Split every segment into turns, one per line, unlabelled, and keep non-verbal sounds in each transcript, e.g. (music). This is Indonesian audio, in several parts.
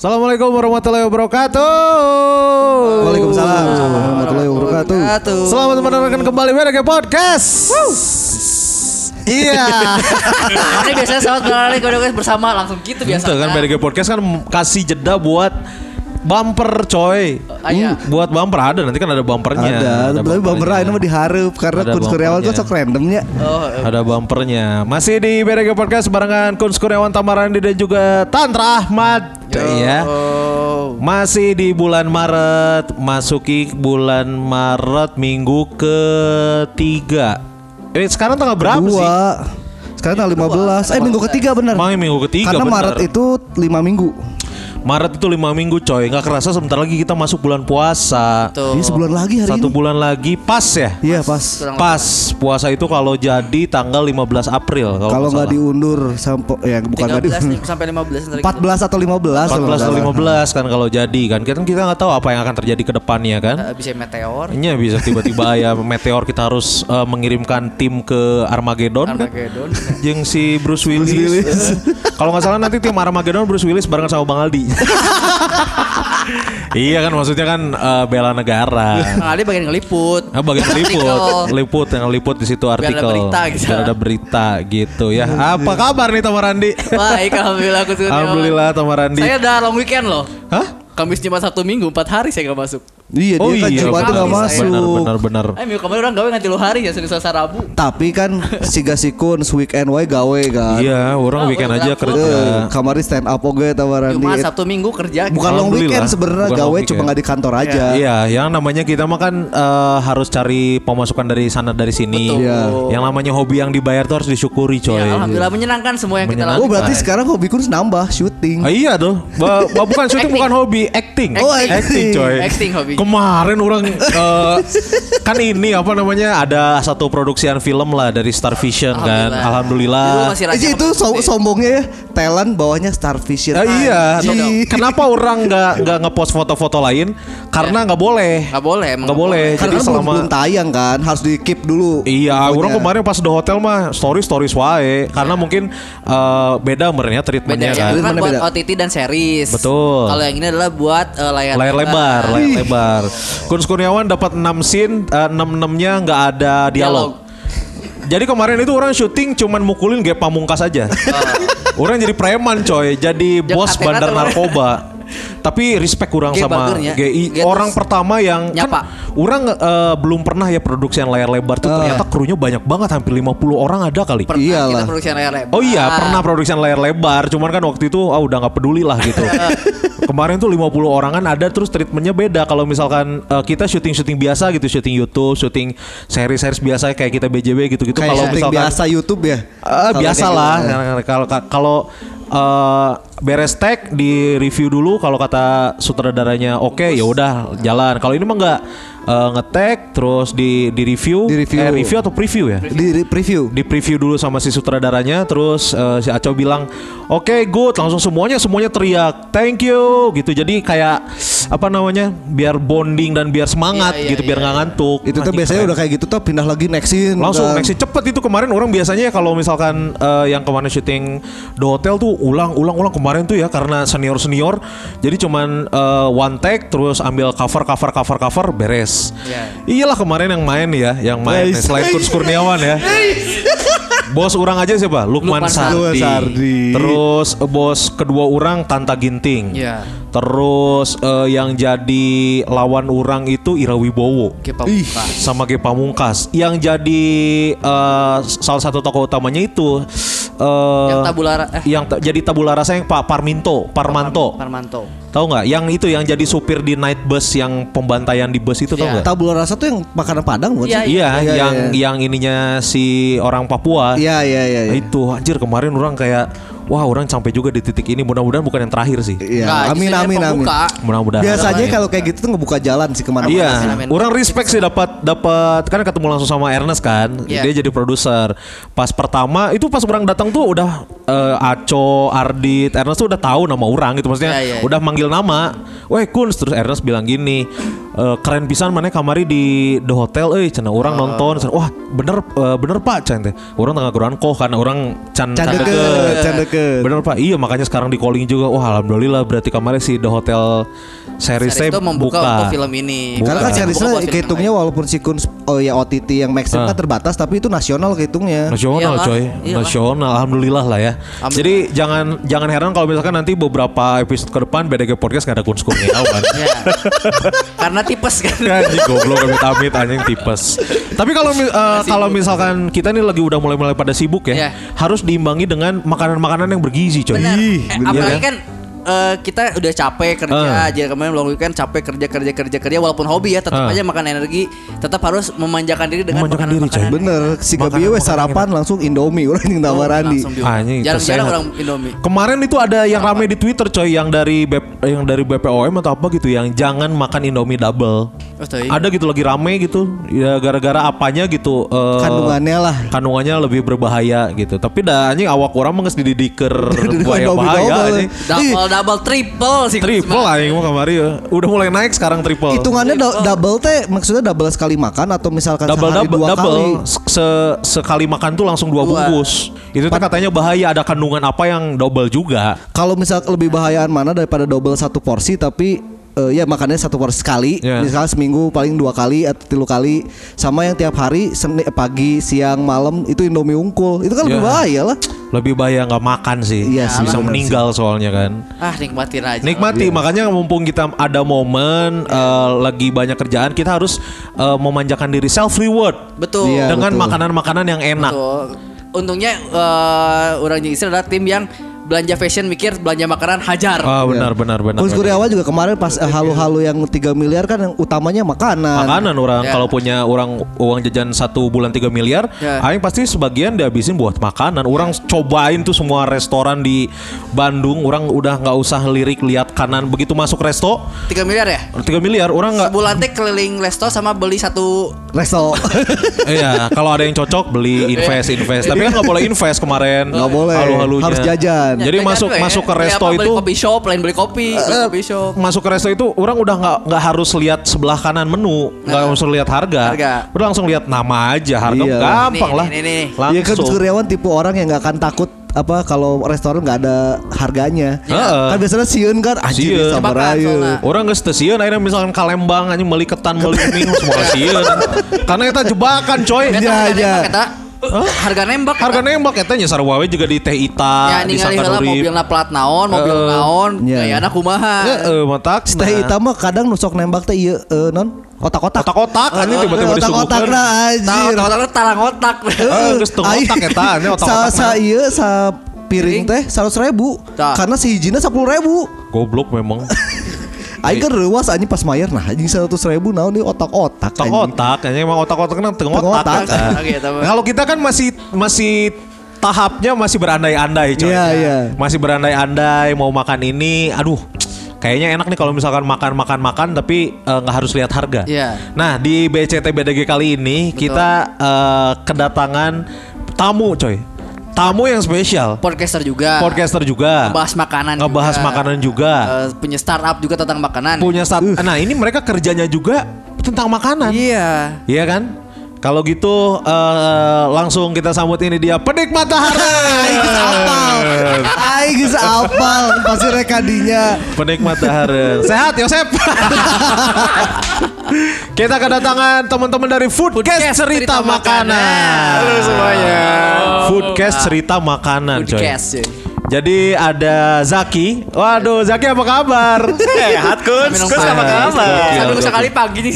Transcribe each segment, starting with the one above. Assalamualaikum warahmatullahi wabarakatuh.
Waalaikumsalam warahmatullahi wabarakatuh.
Selamat mendengarkan kembali Mereka Podcast. Iya.
Ini biasanya sahabat berlari guys bersama langsung gitu (laughs) biasa.
Itu kan BDG Podcast kan kasih jeda buat bumper coy.
Ah, iya.
Buat bumper ada nanti kan ada bumpernya.
Ada, tapi bang
bumpernya.
Berain mah diharap karena
Ada
Kun Kurniawan kan
bumpernya.
sok random ya.
Oh, eh,
Ada bumpernya. Masih di BDG Podcast barengan Kun Kurniawan Tamarandi dan juga Tantra Ahmad.
Ya,
Iya. Masih di bulan Maret, masuki bulan Maret minggu ketiga. Eh, sekarang tanggal berapa sih?
Dua. Sekarang tanggal 15. Eh minggu ketiga benar.
Main minggu ketiga
Karena
benar.
Maret itu 5 minggu.
Maret itu lima minggu coy Nggak kerasa sebentar lagi kita masuk bulan puasa
tuh.
Ini sebulan lagi hari
Satu
ini.
bulan lagi pas ya
Iya pas.
Kurang
Pas puasa itu kalau jadi tanggal 15 April
Kalau
salah.
nggak diundur sampai ya bukan nggak
13
(laughs) diundur.
nih, sampai 15 ntar gitu.
14 atau 15
14
kalau nggak
atau
salah.
15 kan kalau jadi kan Kita kita nggak tahu apa yang akan terjadi ke depannya kan
Eh, bisa meteor.
Iya bisa tiba-tiba
(laughs)
ya meteor kita harus eh, mengirimkan tim ke Armageddon kan?
Armageddon.
Yang si Bruce Willis, (laughs) Kalau nggak salah nanti tim Armageddon Bruce Willis barengan sama Bang Aldi (laughs) Iya kan maksudnya kan eh, bela negara
(laughs) Bang Ali Nah, bagian ngeliput.
Ah, bagian liput, liput yang liput di situ
ada
artikel.
berita gitu.
Biar ada berita gitu ya. Apa kabar nih Tamarandi?
Baik, iya, alhamdulillah aku sudah.
Alhamdulillah Tamarandi.
Saya udah long weekend loh.
Hah?
Kamis Jumat Sabtu Minggu 4 hari saya gak masuk.
Iya dia kan Jumat tuh nggak
Oh benar,
masuk.
Benar benar benar.
Eh minggu kemarin orang gawe nganti lu hari ya Senin Selasa Rabu.
Tapi kan si Gasikun weekend wae gawe kan.
Iya, orang
Ah,
weekend
orang
aja
takut.
kerja.
Eh, Kamari stand up oge tawaran
Jumat
di
Sabtu Minggu kerja.
Bukan long
Alhamdulillah.
weekend sebenarnya
Bukan long
gawe
weekend.
cuma nggak di kantor aja. Oh,
Iya, yang namanya kita mah kan eh, harus cari pemasukan dari sana dari sini.
Betul.
Iya.
Yang namanya hobi yang dibayar tuh harus disyukuri, coy.
Ya, alhamdulillah menyenangkan semua yang kita
Menyenangkan.
Oh
lakukan.
berarti sekarang hobi kun nambah syuting.
Ah, iya tuh, ba, ba- bukan
(laughs)
syuting, bukan hobi, acting.
Oh, acting.
coy.
Acting hobinya.
Kemarin
(laughs)
orang eh, kan ini apa namanya ada satu produksian film lah dari Star Vision kan.
Alhamdulillah. Dulu
Alhamdulillah.
masih raja
Eh, itu so-
keputih.
sombongnya ya talent bawahnya kan.
Iya.
starfish
Ah, iya,
Anjing.
kenapa orang nggak nggak ngepost foto-foto lain? Karena nggak boleh.
Iya. Nggak boleh, emang
nggak
nggak
boleh.
boleh.
Jadi
Karena belum,
selama
belum tayang kan harus di keep dulu.
Iya,
fotonya.
orang kemarin pas di hotel mah story stories wae, karena mungkin eh, beda merenya
Iya. Beda
treatmentnya
ya,
kan.
itu kan
Mana
buat
beda?
OTT dan series.
Betul.
Kalau yang ini adalah buat eh, layar,
layar lebar, layar lebar. Kun Kurniawan dapat 6 scene, eh, 6-6-nya nggak ada dialog. Jadi kemarin itu orang syuting cuman mukulin gaya pamungkas aja. orang jadi preman coy, jadi
Jangan
bos
hati-hati
bandar
orang.
narkoba. Tapi respect kurang
Gaya
sama
bagernya.
GI.
Gaya
orang
terus
pertama yang
nyapa.
kan orang eh, belum pernah ya produksi yang layar lebar tuh ternyata krunya banyak banget hampir 50 orang ada kali.
Pernah
Iyalah.
kita produksi yang layar lebar.
Oh
Ah.
iya pernah produksi layar lebar Cuman kan waktu itu ah udah nggak peduli lah
(laughs)
gitu Kemarin tuh 50 orang kan ada Terus treatmentnya beda Kalau misalkan eh, kita syuting-syuting biasa gitu Syuting Youtube Syuting seri-seri biasa Kayak kita BJB gitu-gitu
kayak
Kalau
syuting
misalkan
biasa YouTube ya.
Eh,
Kalau
biasa
kayak
lah.
gitu.
Kalau kalau eh, beres tag di review dulu kalau kata sutradaranya oke ya udah jalan. Kalau ini mah enggak ngetek terus di di review,
Di review.
Eh, review atau preview ya?
Di re- preview.
Di preview dulu sama si sutradaranya terus eh, si Aco bilang oke good langsung semuanya semuanya teriak thank you gitu. Jadi kayak apa namanya? biar bonding dan biar semangat
Iya, iya,
gitu biar
iya,
nggak ngantuk.
Itu tuh
Anjing,
biasanya
keren.
udah kayak gitu tuh pindah lagi next scene.
Langsung
kan.
nextnya cepet itu kemarin orang biasanya ya kalau misalkan eh, yang kemarin syuting The Hotel tuh ulang-ulang-ulang kemarin tuh ya karena senior-senior jadi cuman eh, one take terus ambil cover cover cover cover beres.
Iya.
Iyalah kemarin yang main ya, yang main
Guys.
selain Kurs Kurniawan ya. Bos orang aja siapa? Lukman,
Lukman
Sardi.
Sardi.
Terus eh, bos kedua orang Tanta Ginting.
Iya.
Terus eh, yang jadi lawan orang itu Ira Wibowo
Oke, pamungkas.
sama Ge Pamungkas yang jadi eh, salah satu tokoh utamanya itu eh,
Yang tabulara eh
yang ta- jadi tabula rasa yang Pak Parminto Parmanto
Parmanto.
tahu nggak yang itu yang jadi supir di night bus yang pembantaian di bus itu tahu
Iya.
nggak
Tabula rasa tuh yang makanan Padang bukan sih?
Iya,
iya
Iya,
yang yang ininya si orang Papua
Iya iya iya.
Nah,
iya.
itu anjir kemarin orang kayak wah orang sampai juga di titik ini mudah-mudahan bukan yang terakhir sih
Iya.
Nggak,
Amin
justru dia
amin amin.
pembuka. ya.
mudah-mudahan
Biasanya kalau kayak gitu tuh ngebuka jalan sih kemana-mana. sih.
Iya,
Amin.
orang respect sih dapat dapat kan ketemu langsung sama Ernest kan,
Iya.
dia jadi produser. Pas pertama itu pas orang datang tuh udah eh, Aco, Ardit, Ernest tuh udah tahu nama orang gitu maksudnya,
Iya, iya, iya.
udah manggil nama. Weh Kun, terus Ernest bilang gini, eh, keren pisan mana kamari di the hotel euy cenah urang
Oh.
nonton cenah, wah bener eh, bener Pak can teh. Urang tengah kurang koh karena urang can
Can
kadeke.
deket, can deket.
Bener Pak, iya makanya sekarang di calling juga. Wah alhamdulillah berarti kemarin si The Hotel series
Series itu membuka
buka.
untuk film ini.
Karena kan
Bukan.
seriesnya
Bukan buat film
kehitungnya walaupun sikun oh ya OTT yang maximum
Ah.
kan terbatas tapi itu nasional
Kan?
kehitungnya.
Nasional
Iyalah,
coy,
iyalah.
nasional. Alhamdulillah lah ya. Jadi jangan jangan heran kalau misalkan nanti beberapa episode ke depan BDG Podcast gak ada kunskumnya, tahu kan? (laughs)
lain. Ya. (laughs) Karena tipes kan.
Anjing goblok amit-amit anjing tipes. Tapi kalau mi- eh, kalau misalkan kita nih lagi udah mulai-mulai pada sibuk ya,
Iya.
harus diimbangi dengan makanan-makanan yang bergizi coy.
Benar.
Ih,
Eh,
bener
apalagi
ya.
kan eh, kita udah capek kerja
Eh.
aja kemarin long weekend capek kerja kerja kerja kerja walaupun hobi ya tetap
Eh.
aja makan energi tetap harus memanjakan diri dengan
Memanjakan
makanan
diri, coy.
makanan
Bener, si Gabi we sarapan langsung Indomie urang
Oh,
yang tawaran di.
Anjing, itu
jarang-jarang
sehat.
orang Indomie
Kemarin itu ada yang rame di Twitter coy yang dari B- yang dari BPOM atau apa gitu yang jangan makan Indomie double.
Oh, tai.
Ada gitu lagi rame gitu ya gara-gara apanya gitu eh,
Kandungannya lah.
kandungannya lebih berbahaya gitu. Tapi dah anjing awak orang mah geus
(laughs)
dididiker buaya
Indomie
bahaya
double.
anjing.
Ih.
double double triple sih
Triple anjing mah kamari ya. Udah mulai naik sekarang triple.
Hitungannya do- double teh maksudnya double sekali makan atau misalkan
Oh. double
sehari
double
dua
double
kali.
se sekali makan tuh langsung dua
Dua.
bungkus. Itu teh katanya bahaya ada kandungan apa yang double juga.
Kalau misal lebih bahayaan mana daripada double satu porsi tapi eh, ya makannya satu porsi sekali,
Ya.
misalnya seminggu paling dua kali atau tilu kali, sama yang tiap hari Senin pagi, siang, malam itu Indomie ungkul, itu kan
Ya.
lebih bahaya lah.
Lebih bahaya nggak makan sih.
Iya sih, Iya.
bisa
bener
meninggal soalnya kan.
ah nikmatin aja
Nikmati, makanya mumpung kita ada momen
Iya.
eh, lagi banyak kerjaan, kita harus eh, memanjakan diri self reward
betul
Iya.
dengan
betul.
makanan-makanan yang enak.
Betul. Untungnya eh, orang jeung istri adalah tim yang belanja fashion mikir belanja makanan hajar.
Ah, benar, benar, benar.
Kus
benar.
Kuryawan juga kemarin pas
Iya.
eh, halu-halu yang 3 miliar kan yang utamanya makanan.
makanan orang
Ya.
kalau punya orang uang jajan satu bulan 3 miliar,
Ya.
aing pasti sebagian dihabisin buat makanan. Orang cobain tuh semua restoran di Bandung, orang udah nggak usah lirik lihat kanan begitu masuk resto
3 miliar ya?
3 miliar, orang nggak
Sebulan teh keliling resto sama beli satu
(laughs)
Resto.
Iya, kalau ada yang cocok
(laughs)
beli
Ya.
invest invest. Tapi kan nggak boleh invest kemarin.
Nggak boleh.
Halu-halunya.
Harus jajan.
Jadi
Ya,
masuk
kan,
masuk ke
ya,
resto
apa,
itu Eh,
beli kopi shop, lain beli kopi, beli kopi shop.
masuk ke resto itu orang udah nggak nggak harus lihat sebelah kanan menu, nggak harus lihat harga.
Nah. Harga.
Udah langsung lihat nama aja, harga
Iya.
gampang
Nih,
lah.
nih, nih, nih.
Langsung.
Iya kan Kus Kuryawan tipe orang yang nggak akan takut apa kalau restoran nggak ada harganya.
Iya. Heeh.
Kan biasanya siun kan anjir
Sieun.
sama
Cepakan, soalnya.
rayu.
Orang geus teu sieun akhirnya misalkan kalembang anjing meuli ketan meuli mie semua sieun. Karena kita jebakan coy.
Eta
Ya,
harga
ya.
nembak, eta. Harga nembak.
iya, Harga
eta.
nembak eta nya sarua we juga di Teh
Ya
Ita, di
ningali heula
Santanurip.
mobilna plat naon, mobil
Eh,
naon,
ya.
gayana kumaha.
Heeh, matak.
Teh hitam mah kadang nusok nembak teh iya eh, non kotak-kotak.
Otak-otak anjing tiba-tiba
Otak-otak
disuguhkeun.
lah
Nah,
anjir.
otak-otak tarang otak.
Eh, geus teu otak eta, ini otak-otak
Sa sa
mah.
iya sa piring teh 100 ribu
Tah.
karena si hijina 10 ribu
Goblok memang.
Aing kan rewas anjing pas mayer nah anjing 100 ribu naon ieu otak-otak
Otak
anjing.
otak, kayaknya emang otak otak kan tengok
Tengok
otak.
otak.
kan.
Oke, tambah.
Nah, Kalau kita kan masih masih tahapnya masih berandai-andai coy.
Iya, iya.
Masih berandai-andai mau makan ini, aduh. Kayaknya enak nih kalau misalkan makan makan makan tapi eh, nggak harus lihat harga.
Iya.
Nah di BCT BDG kali ini
Betul.
kita eh, kedatangan tamu coy, tamu yang spesial,
Podcaster juga.
podcaster juga,
Iya. Ngebahas makanan.
ngebahas makanan juga,
Eh, punya startup juga tentang makanan.
punya saat. Nah ini mereka kerjanya juga tentang makanan.
Iya.
Iya kan? Kalau gitu eh, langsung kita sambut ini dia Pedik Matahari.
Aing geus apal. Aing geus apal pasti rekadinya.
Pedik Matahari. Sehat Yosep. kita kedatangan teman-teman dari Foodcast
Foodcast
Cerita
Cerita
Makanan.
Makanan. Halo
semuanya. Foodcast Cerita Makanan, Nah, coy.
Foodcast, cuy.
Jadi ada Zaki. Waduh, Zaki apa kabar?
Sehat Kun,
Minum
Kun apa
panas.
kabar?
Satu
Iya,
sekali pagi nih.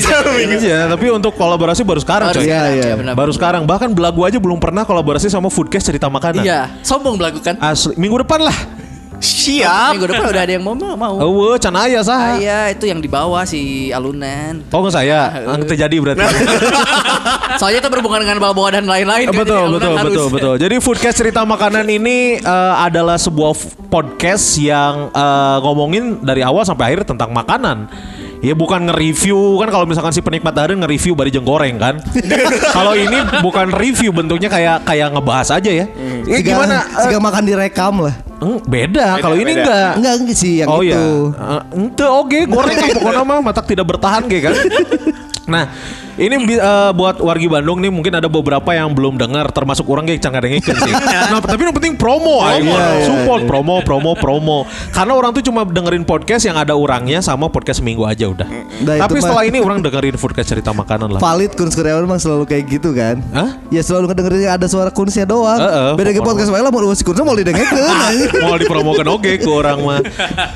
Iya, tapi untuk kolaborasi baru sekarang,
Baru
coy.
Iya,
sekarang,
iya.
cuy, benar.
Baru sekarang bahkan belagu aja belum pernah kolaborasi sama Foodcast Cerita Makanan.
Iya, sombong melakukan.
Asli minggu depan lah.
Siap.
Minggu depan udah ada yang mau mau. mau.
Eueuh, can aya saha.
Iya, itu yang di bawah si alunan.
Oh nggak saya, Ang terjadi berarti.
Soalnya itu berhubungan dengan bawa-bawa dan lain-lain. kan, jadi
(laughs) betul,
alunan
betul,
harus.
betul,
(laughs)
betul. Jadi foodcast cerita makanan ini eh, adalah sebuah f- podcast yang eh, ngomongin dari awal sampai akhir tentang makanan. Ya bukan nge-review kan kalau misalkan si penikmat hari nge-review bari jeng goreng
(laughs)
kan. kalau ini bukan review bentuknya kayak kayak ngebahas aja ya. Eh,
Hmm.
Siga,
gimana?
siga makan direkam lah.
Eh, Eng, beda. Kalau
beda.
ini enggak.
Enggak enggak sih yang
oh
itu.
ya. Ente oke gitu. goreng lah, pokoknya mah matak tidak bertahan ge
(laughs)
kan. Nah, ini bi- eh, buat wargi Bandung nih mungkin ada beberapa yang belum dengar termasuk orang kayak cangadengekeun (laughs) sih. Nah, tapi yang penting promo iya, aing. Support promo promo promo. Karena orang tuh cuma dengerin podcast yang ada orangnya sama podcast minggu aja udah.
Nah, itu
tapi
mah-
setelah ini orang dengerin podcast cerita makanan lah.
Valid Kunz Kurniawan emang selalu kayak gitu kan
Hah?
Ya selalu ngedengerin ada suara Kunznya doang
Heeh,
Beda ke
pokoknya. Ah.
podcast lain lah Mau si Kunznya mau
(laughs)
didengerin
Mau dipromokan oke ke orang
(laughs)
mah.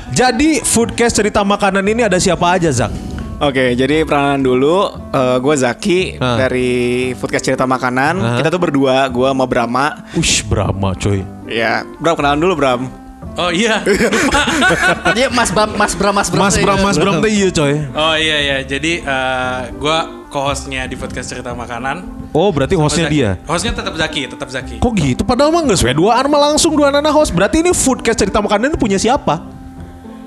Jadi foodcast cerita makanan ini ada siapa aja, Zak?
Oke, jadi peranan dulu gue Zaki
Ah.
dari Foodcast Cerita Makanan.
Ah.
Kita tuh berdua, gue sama Brahma.
Ush, Brahma coy.
Ya, Bram kenalan dulu Bram.
Oh iya.
Dia Iya, Mas Bram, Mas Bram, Mas Bram.
Mas Bram, Mas Bram teh iya coy.
oh iya ya. Jadi eh, gua co-hostnya di podcast cerita makanan.
Oh, berarti hostnya dia.
Hostnya tetap Zaki, tetap Zaki.
Kok gitu? Padahal mah nggak sesuai duaan mah langsung dua anak host. Berarti ini foodcast cerita makanan ini punya siapa?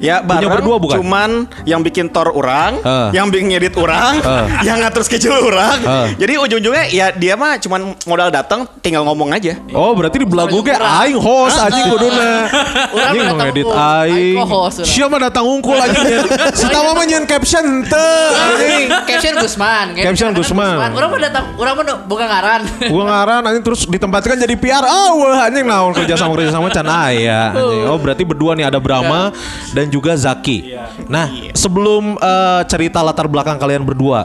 Ya,
Punya
bareng,
berdua bukan?
Cuman yang bikin tor orang,
Ah.
yang bikin ngedit orang,
Ah.
yang ngatur schedule orang.
Ah.
Jadi ujung-ujungnya ya dia mah cuman modal datang, tinggal ngomong aja.
Oh, berarti di belagu ge aing host anjing kuduna.
Urang
Anjing
datang
ngedit
ungkul,
aing.
aing co-host urang.
Siapa datang ungkul anjing. (laughs) Si Tama mah nyen caption teh anjing.
(laughs) Caption Gusman.
Caption Gusman.
Orang mah datang, orang mah buka ngaran.
Gua ngaran anjing terus ditempatkan jadi PR. Oh, wah anjing naon kerja sama kerja sama can aya anjing. Oh, berarti berdua nih ada Brahma dan juga Zaki. Nah, sebelum eh, cerita latar belakang kalian berdua,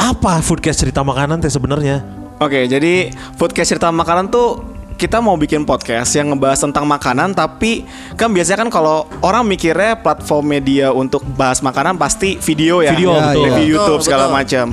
apa foodcast cerita makanan teh sebenarnya?
Oke, jadi podcast cerita makanan tuh kita mau bikin podcast yang ngebahas tentang makanan tapi kan biasanya kan kalau orang mikirnya platform media untuk bahas makanan pasti video ya.
Video,
Ya,
betul.
review
Betul,
YouTube segala
betul.
macam.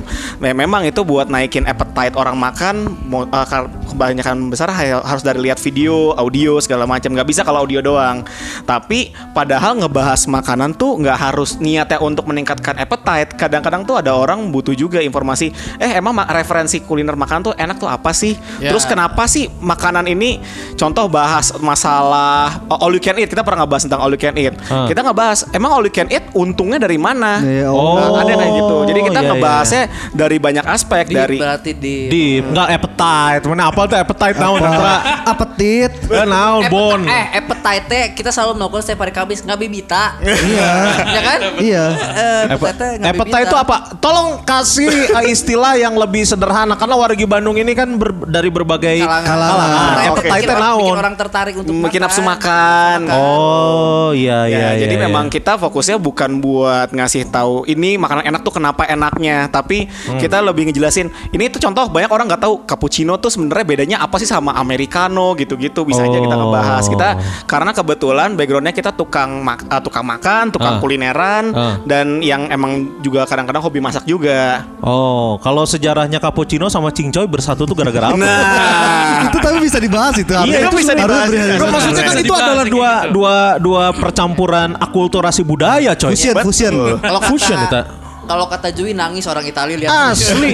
Nah, memang itu buat naikin appetite orang makan mau- eh, kar- kebanyakan besar hay- harus dari lihat video, audio segala macam. nggak bisa kalau audio doang. Tapi padahal ngebahas makanan tuh nggak harus niatnya untuk meningkatkan appetite. Kadang-kadang tuh ada orang butuh juga informasi, eh emang ma- referensi kuliner makanan tuh enak tuh apa sih?
Ya.
Terus kenapa sih makanan ini contoh bahas masalah oh, all you can eat. Kita pernah ngebahas tentang all you can eat.
Hmm.
Kita ngebahas emang all you can eat untungnya dari mana?
Ya,
Oh.
Nah, ada kayak gitu. Jadi kita
Iya, iya,
ngebahasnya dari banyak aspek
Di,
dari
Iya, berarti di.
di enggak appetite mana apa tuh appetite naon Tara
Apetit
Eh, naon
Appetite-
bon
Eh, appetite teh kita selalu melakukan setiap hari Kamis nggak bibita. Iya. Ya kan?
Iya
Eh, appetite teh nggak
Appetite
bibita.
itu apa? Tolong kasih eh, istilah yang lebih sederhana karena wargi Bandung ini kan ber- dari berbagai
Kalangan.
Kalangan.
Nah,
Kalangan.
appetite
Bikin
teh
orang-
naon?
Bikin orang tertarik untuk
bikin nafsu makan.
Oh iya iya.
Ya,
iya,
jadi
iya.
memang kita fokusnya bukan buat ngasih tahu ini makanan enak tuh kenapa enaknya, tapi
Hmm.
kita lebih ngejelasin. Ini tuh contoh banyak orang nggak tahu cappuccino tuh sebenarnya bedanya apa sih sama americano gitu-gitu. Bisa aja kita
Oh.
ngebahas. Kita karena kebetulan backgroundnya kita tukang mak- eh, tukang makan, tukang
Ah.
kulineran,
Ah.
dan yang emang juga kadang-kadang hobi masak juga.
Oh, kalau sejarahnya cappuccino sama cingcoy bersatu tuh gara-gara apa?
Nah,
Itu tapi bisa dibahas itu
Iya, itu bisa
Harus
dibahas.
beri-
Nggak, maksudnya kan
nah,
Bisa
itu
dibahas
adalah
kayak
dua
gitu.
dua dua percampuran akulturasi budaya coy.
Fusion Fusion
Kalau kata-
Fusion kita.
Kalau kata Jui nangis orang Italia lihat. (laughs)
Asli.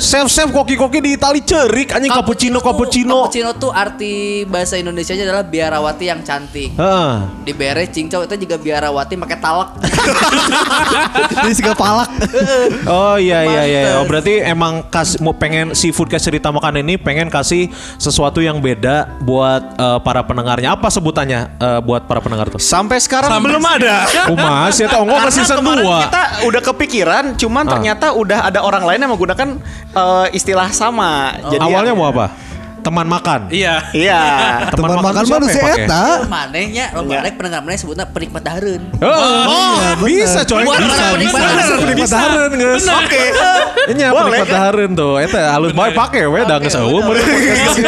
Chef chef koki-koki di Itali cerik anjing cappuccino cappuccino.
Cappuccino tuh arti bahasa Indonesianya adalah biarawati yang cantik.
Heeh.
Di bere cincau itu juga biarawati pakai talak.
Jadi segala palak
Oh iya iya iya.
Pantes.
Oh, berarti emang kas mau pengen seafood kayak cerita makan ini pengen kasih sesuatu yang beda buat eh, para pendengarnya. Apa sebutannya eh, buat para pendengar
(laughs)
tuh?
sampai sekarang belum ada.
Kumas ya tau nggak masih season
kemarin
dua.
kita udah kepikiran, cuman
Ah.
ternyata udah ada orang lain yang menggunakan eh, istilah sama. Jadi
Oh,
ya,
Awalnya mau apa? iya. Teman makan.
Iya.
Iya.
Teman
siapa
makan
ya,
manusia
yang pakai?
eta
(laughs) Manehnya, lo
Iya.
manek pendengar maneh sebutnya penikmat dareun.
Oh, bisa coy. bisa,
Buat orang
bisa,
penikmat
bisa,
dahareun.
penikmat dahareun, guys. (laughs)
Oke.
Ini apa
Boleh,
penikmat
kan?
dahareun tuh. Eta halus bae pake we da geus eueuh.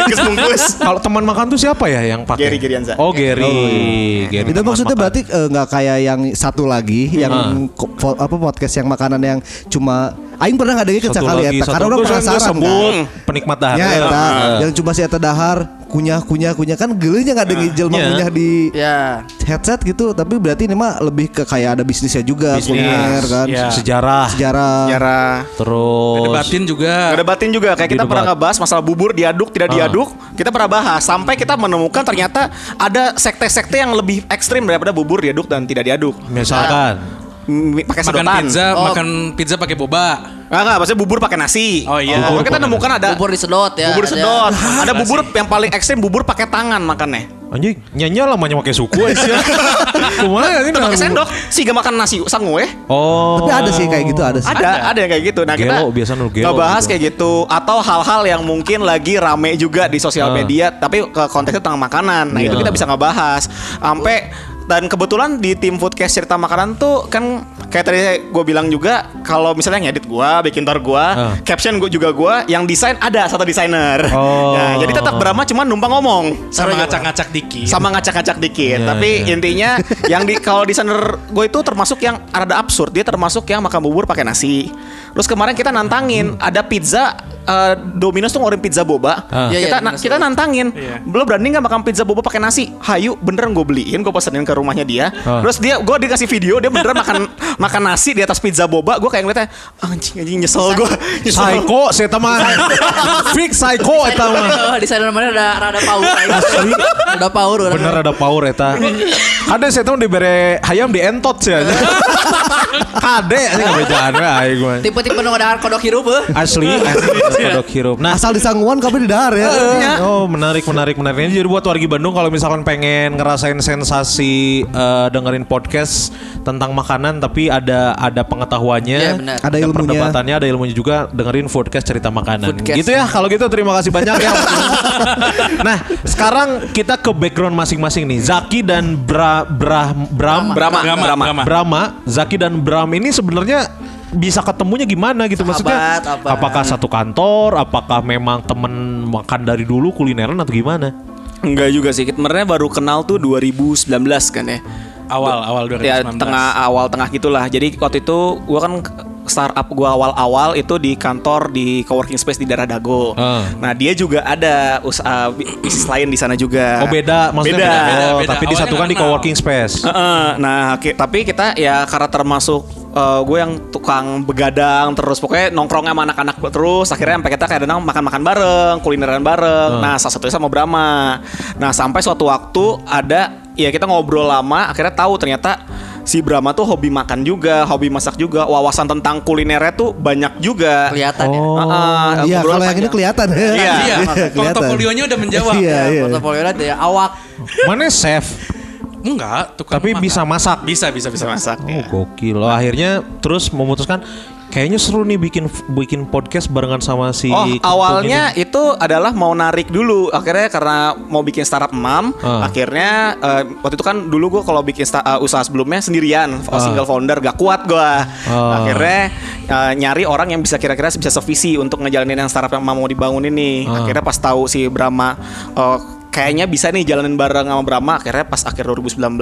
Geus bungkus.
(laughs) Kalau teman makan tuh siapa ya yang pakai?
Gary Gerianza.
Oh, Gary. Gary
Itu
teman
maksudnya
makan.
berarti eh, nggak kayak yang satu lagi yang
Ah.
ko- po- apa podcast yang makanan yang cuma Aing pernah nggak dengerin
satu
sekali
lagi
Eta
satu
karena orang
Gua Ah, soalnya
penasaran
sebut
kan.
penikmat dahar
Ya Eta yang cuma si Eta dahar kunyah kunyah kunyah kan gelenya nggak dengerin jelma
Iya.
kunyah di
Ya.
headset gitu tapi berarti ini mah lebih ke kayak ada bisnisnya juga
Bisnis,
kuliner kan
iya.
sejarah
sejarah
Cara Oh,
terus
Debatin juga.
ada batin juga kayak kita
Didebat.
pernah ngebahas masalah bubur diaduk tidak
Gitu, Ah.
diaduk kita pernah bahas sampai kita menemukan ternyata ada sekte-sekte yang lebih ekstrim daripada bubur diaduk dan tidak diaduk
misalkan
M- pakai
Makan
sedotan
pizza,
Oh.
makan pizza pakai boba.
Enggak, enggak, maksudnya bubur pakai nasi.
Oh, iya.
Pokoknya kita
Bubur pakai
nemukan ada
Bubur disedot ya. (laughs)
bubur
ada.
sedot. Ada bubur yang paling ekstrim bubur pakai tangan makannya.
Anjing, nyanyi lamanya pakai suku
(laughs)
aja. Kumaha ini
Pakai
nah.
sendok, sih gak makan nasi sangu ya.
Oh.
Tapi ada sih kayak gitu, ada sih.
Ada, ada yang kayak gitu. Nah kita
Gelo, biasa nu gelo
ngebahas
gitu.
kayak gitu atau hal-hal yang mungkin lagi rame juga di sosial
Ah.
media, tapi ke konteksnya tentang makanan. Nah itu
Iya.
kita bisa ngebahas. Sampai dan kebetulan di tim foodcast cerita makanan tuh kan kayak tadi gue bilang juga kalau misalnya ngedit gue, bikin tor gue,
Ah.
caption gue juga gue, yang desain ada satu desainer.
Oh.
Nah, jadi tetap drama cuman numpang ngomong.
Sama
Sama-
ngacak-ngacak dikit.
sama ngacak-ngacak dikit.
Iya,
Tapi
iya.
intinya yang di kalau desainer gue itu termasuk yang rada absurd. Dia termasuk yang makan bubur pakai nasi. Terus kemarin kita nantangin ada pizza eh, Domino's tuh ngeluarin pizza boba.
Ah.
Iya, iya,
Kita na-
Domino's
kita
boba.
nantangin.
Iya.
Belum berani nggak makan pizza boba pakai nasi? Hayu beneran gue beliin, gue pesenin ke rumahnya dia.
Ah.
Terus dia gue dikasih video dia beneran makan makan nasi di atas pizza boba. Gue kayak ngeliatnya anjing anjing nyesel gue.
Psycho saya teman. Fix psycho eta mah.
Eh, (laughs) di sana namanya ada rada power.
Asli.
Ada power. orang.
Bener ada power eta. Ada saya tahu dibere hayam dientot
(laughs)
sih. anjing. Kade anjing ngebejaan we aing mah.
Tipe-tipe nu ada kodok hirup eh.
Asli, (laughs) asli kodok hirup. Nah,
Asal disangguan kami di dahar ya.
Oh menarik menarik menarik. Ini jadi buat wargi Bandung kalau misalkan pengen ngerasain sensasi eh, dengerin podcast tentang makanan tapi ada ada pengetahuannya,
Iya, benar.
Ada ilmunya.
perdebatannya, ada ilmunya juga dengerin podcast cerita makanan.
Podcast.
Gitu ya. Kalau gitu terima kasih banyak
(laughs)
ya. nah sekarang kita ke background masing-masing nih. Zaki dan Bra Bra Bram
Brahma,
Brahma,
Brahma.
Brahma.
Brahma, Zaki dan Bram ini sebenarnya bisa ketemunya gimana gitu maksudnya?
Sahabat, apa?
Apakah satu kantor? Apakah memang temen makan dari dulu kulineran atau gimana?
Enggak juga sih. Sebenarnya baru kenal tuh 2019 kan ya.
Awal, awal 2019.
Ya tengah awal tengah gitulah. Jadi waktu itu gua kan k- startup gua awal-awal itu di kantor di coworking space di daerah Dago.
Ah.
Nah, dia juga ada usaha bi- bisnis lain di sana juga.
Oh beda, maksudnya
Beda.
beda. Oh,
beda.
tapi
Awalnya
disatukan di
nggak kenal.
coworking
(laughs)
space.
Heeh, nah, ki- tapi kita ya karena termasuk eh, gue yang tukang begadang terus pokoknya nongkrong sama anak-anak gue terus akhirnya sampai kita kadang makan-makan bareng, kulineran bareng. Nah, salah satunya sama Brahma. Nah, sampai suatu waktu ada ya kita ngobrol lama akhirnya tahu ternyata si Brahma tuh hobi makan juga, hobi masak juga, wawasan tentang kulinernya tuh banyak juga.
Kelihatan ya.
Oh.
Heeh,
Iya,
obrolan
kalau yang ini
panjang.
kelihatan. (laughs)
Iya,
portofolionya udah menjawab.
Iya,
Ya,
iya.
Portofolio ada ya awak.
Mana chef?
Enggak, tukang
Tapi
makan.
bisa masak.
Bisa, bisa, bisa
Bisa masak.
Iya.
Oh gokil. Oh, akhirnya terus memutuskan kayaknya seru nih bikin bikin podcast barengan sama si
Oh,
Kentung
awalnya
ini.
itu adalah mau narik dulu. Akhirnya karena mau bikin startup mam,
Ah.
akhirnya eh, waktu itu kan dulu gue kalau bikin sta- eh, usaha sebelumnya sendirian,
Ah.
single founder gak kuat gue.
Ah.
Akhirnya eh, nyari orang yang bisa kira-kira bisa sevisi untuk ngejalanin yang startup yang mam mau dibangun ini.
Ah.
Akhirnya pas tahu si Brahma eh, Kayaknya bisa nih jalanin bareng sama Brahma akhirnya pas akhir 2019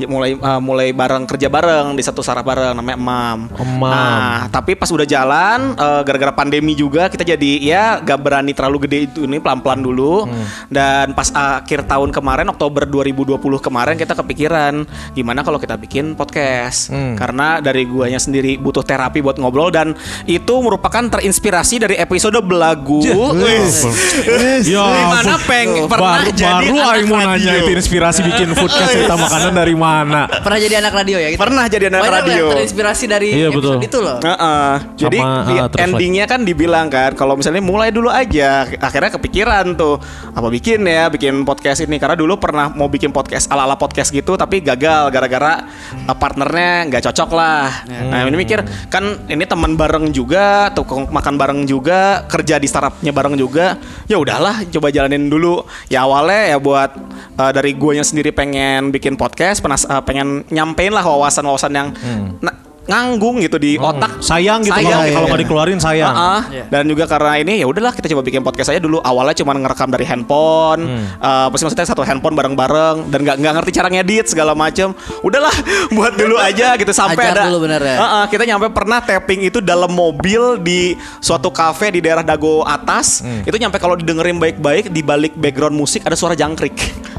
ya mulai eh, mulai bareng kerja bareng di satu startup bareng namanya Mam.
Oh, Mam.
Nah, tapi pas udah jalan eh, gara-gara pandemi juga kita jadi ya gak berani terlalu gede itu ini pelan-pelan dulu
Hmm.
dan pas akhir tahun kemarin Oktober 2020 kemarin kita kepikiran gimana kalau kita bikin podcast
Hmm.
karena dari guanya sendiri butuh terapi buat ngobrol dan itu merupakan terinspirasi dari episode belagu Wis. (laughs)
Ya,
Dimana
ampun.
peng pernah
baru
jadi
baru
anak
aing mau
radio.
nanya itu inspirasi
(laughs)
bikin foodcast cerita makanan dari mana?
Pernah jadi anak radio ya? Gitu?
Pernah jadi anak
Banyak
radio.
yang terinspirasi dari
Iya, betul.
episode itu loh.
Heeh. Jadi
Sama,
di
ah, terus
endingnya kan dibilang kan kalau misalnya mulai dulu aja akhirnya kepikiran tuh apa bikin ya bikin podcast ini karena dulu pernah mau bikin podcast ala ala podcast gitu tapi gagal gara-gara eh, partnernya nggak cocok lah. Nah ini mikir kan ini teman bareng juga tukang makan bareng juga kerja di startupnya bareng juga ya udahlah coba jalanin dulu ya awalnya ya buat eh, dari guanya sendiri pengen bikin podcast penas eh, pengen nyampein lah wawasan-wawasan yang na- nganggung gitu di otak
Sayang gitu
Sayang,
kalau
iya. ah.
kalau nggak dikeluarin sayang.
Heeh.
Iya.
Dan juga karena ini ya udahlah kita coba bikin podcast aja dulu. Awalnya cuma ngerekam dari handphone. Eh, pasti maksudnya satu handphone bareng-bareng dan nggak nggak ngerti cara ngedit segala macem. Udahlah (laughs) buat dulu aja gitu sampai ada.
Ajar dulu bener ya.
Heeh, kita nyampe pernah tapping itu dalam mobil di suatu cafe di daerah Dago atas. Itu nyampe kalau didengerin baik-baik di balik background musik ada suara jangkrik.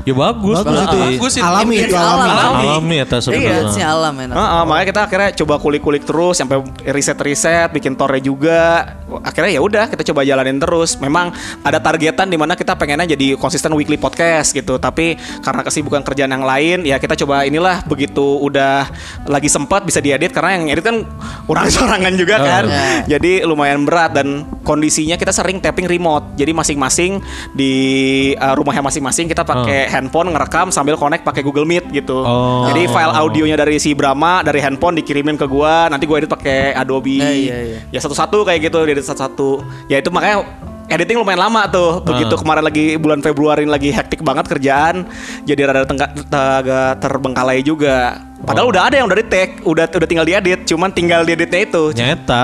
Ya bagus,
Bagus itu.
Bagus itu.
Alami itu
Alam.
alami.
Alami, alami atas
Iya, si alam enak.
Heeh, makanya kita akhirnya coba kulik-kulik terus sampai riset-riset, bikin tore juga. Akhirnya ya udah kita coba jalanin terus. Memang ada targetan di mana kita pengennya jadi konsisten weekly podcast gitu, tapi karena kesibukan kerjaan yang lain ya kita coba inilah begitu udah lagi (laughs) sempat bisa diedit karena yang edit kan kurang sorangan juga kan.
Iya.
Jadi lumayan berat dan kondisinya kita sering tapping remote. Jadi masing-masing di eh, rumahnya masing-masing kita pakai handphone ngerekam sambil connect pakai Google Meet gitu.
Oh.
Jadi file audionya dari si Brahma dari handphone dikirimin ke gua, nanti gua edit pakai Adobe.
Iya, iya, iya.
Ya satu-satu kayak gitu, edit satu-satu. Ya itu makanya editing lumayan lama tuh. Begitu
Ah.
kemarin lagi bulan Februari lagi hektik banget kerjaan, jadi rada tengga- agak terbengkalai juga. Padahal udah ada yang udah di tag, udah udah tinggal diedit, cuman tinggal dieditnya itu.
Ya. nyeta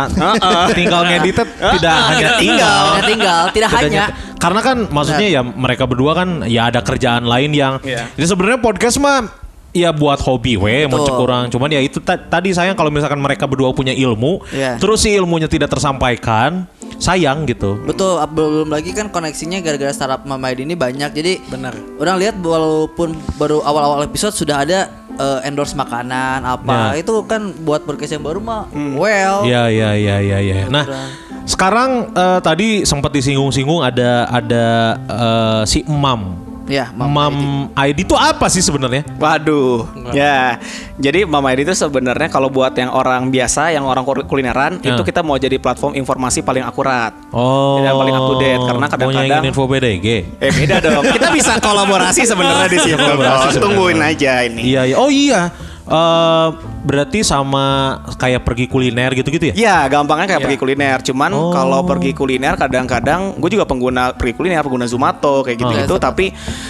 tinggal ngedit tidak hanya tinggal
tinggal, tidak tinggal, tidak
Tidak
hanya.
nyata. karena kan maksudnya ya mereka berdua kan ya ada kerjaan lain yang
Iya.
jadi sebenarnya podcast mah ya buat hobi we mau
Betul.
kurang cuman ya itu ta- tadi sayang kalau misalkan mereka berdua punya ilmu
Iya.
terus si ilmunya tidak tersampaikan sayang gitu
Betul, ab- belum lagi kan koneksinya gara-gara startup Mamaid ini banyak. Jadi
Benar.
Orang lihat walaupun baru awal-awal episode sudah ada eh, endorse makanan apa.
Nah.
Itu kan buat podcast yang baru mah
Oh,
well.
ya ya ya ya ya nah sekarang eh, tadi sempat disinggung-singgung ada ada eh, si Emam
Iya,
Ya, Mama
Mam
Id.
ID itu apa sih sebenarnya?
Waduh, ya. Jadi Mama Edi itu sebenarnya kalau buat yang orang biasa, yang orang kul- kulineran,
Ya.
itu kita mau jadi platform informasi paling akurat.
Oh,
Yang paling up to date, karena
maunya
kadang-kadang-
ingin info BDG.
Eh beda dong. Kita bisa kolaborasi sebenarnya di situ.
Kolaborasi
Bos.
sebenarnya.
Oh, Tungguin aja ini.
Iya, iya. Oh iya. Eh, berarti sama kayak pergi kuliner gitu-gitu ya?
Iya, gampangnya kayak pergi kuliner. Cuman
Oh.
kalau pergi kuliner kadang-kadang gue juga pengguna pergi kuliner, pengguna Zumato
Oh.
kayak
Iya,
gitu-gitu. Tapi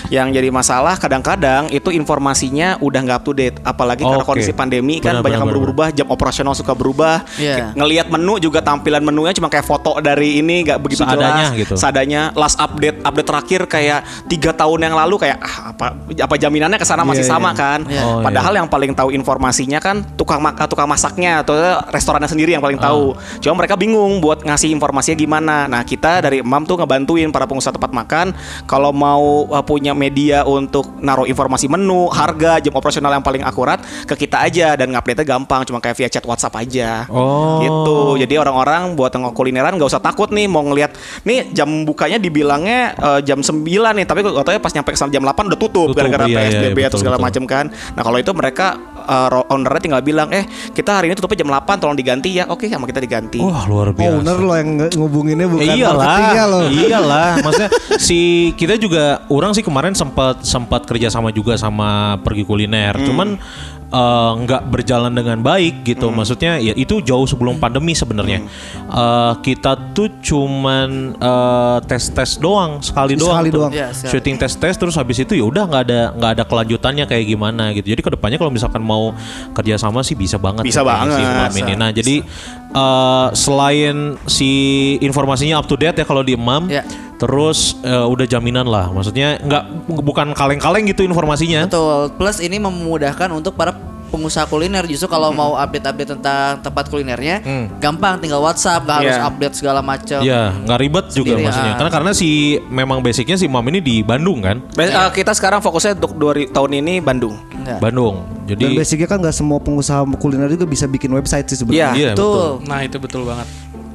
yang jadi masalah kadang-kadang itu informasinya udah nggak up to date. Apalagi karena
Oke.
kondisi pandemi kan
Benar,
banyak yang
benar, benar.
berubah, jam operasional suka berubah.
Iya.
Ngelihat menu juga tampilan menunya cuma kayak foto dari ini nggak begitu
Seadanya
jelas.
gitu.
Seadanya last update update terakhir kayak tiga tahun yang lalu kayak ah, apa apa jaminannya ke sana masih sama kan?
Iya.
Oh, iya.
Padahal yang paling tahu informasinya kan tukang mak tukang masaknya atau eh, restorannya sendiri yang paling tahu.
Ah.
Cuma mereka bingung buat ngasih informasinya gimana. Nah, kita dari Emam tuh ngebantuin para pengusaha tempat makan kalau mau uh, punya media untuk naruh informasi menu, harga, jam operasional yang paling akurat ke kita aja dan ngupdate-nya gampang cuma kayak via chat WhatsApp aja.
Oh.
Gitu. Jadi orang-orang buat yang kulineran nggak usah takut nih mau ngelihat nih jam bukanya dibilangnya uh, jam 9 nih, tapi katanya ya pas nyampe ke sana jam 8 udah tutup,
Tutup,
gara-gara
iya, iya, iya,
PSBB atau
betul,
segala
betul.
macam kan. Nah kalau itu mereka uh, ro- ownernya tinggal bilang, eh kita hari ini tutupnya jam 8 tolong diganti ya. Oke sama kita diganti.
Wah, luar biasa.
Owner lo yang nge- ngubunginnya bukan
Eh,
marketingnya lo.
iyalah,
(laughs)
iyalah. Maksudnya si kita juga orang sih kemarin sempat sempat kerja sama juga sama pergi kuliner.
Hmm.
Cuman eh, nggak berjalan dengan baik gitu.
Hmm.
Maksudnya ya itu jauh sebelum pandemi sebenarnya. Eh, kita tuh cuman tes tes doang sekali doang.
Sekali
tuh.
doang.
Iya, sekali.
Shooting tes tes terus habis itu ya udah nggak ada nggak ada kelanjutannya kayak gimana gitu. Jadi kedepannya kalau misalkan mau kerja sama sih bisa banget.
Bisa
ya, kayaknya sih,
banget.
Mam ini. Nah jadi eh, selain si informasinya up to date ya kalau di Emam,
Ya.
terus eh, udah jaminan lah. Maksudnya nggak bukan kaleng-kaleng gitu informasinya.
Betul. Plus ini memudahkan untuk para pengusaha kuliner justru kalau mau update-update tentang tempat kulinernya gampang tinggal WhatsApp nggak harus
Iya.
update segala macam.
Ya nggak ribet juga
Sendirian.
maksudnya. Karena karena si memang basicnya si Mam ini di Bandung kan,
Be- uh, kita sekarang fokusnya untuk dua ri- tahun ini Bandung.
Iya.
Bandung.
Dan
Jadi
basicnya kan nggak semua pengusaha kuliner juga bisa bikin website sih
Iya.
iya
sebenarnya.
betul.
Betul.
Nah itu betul banget.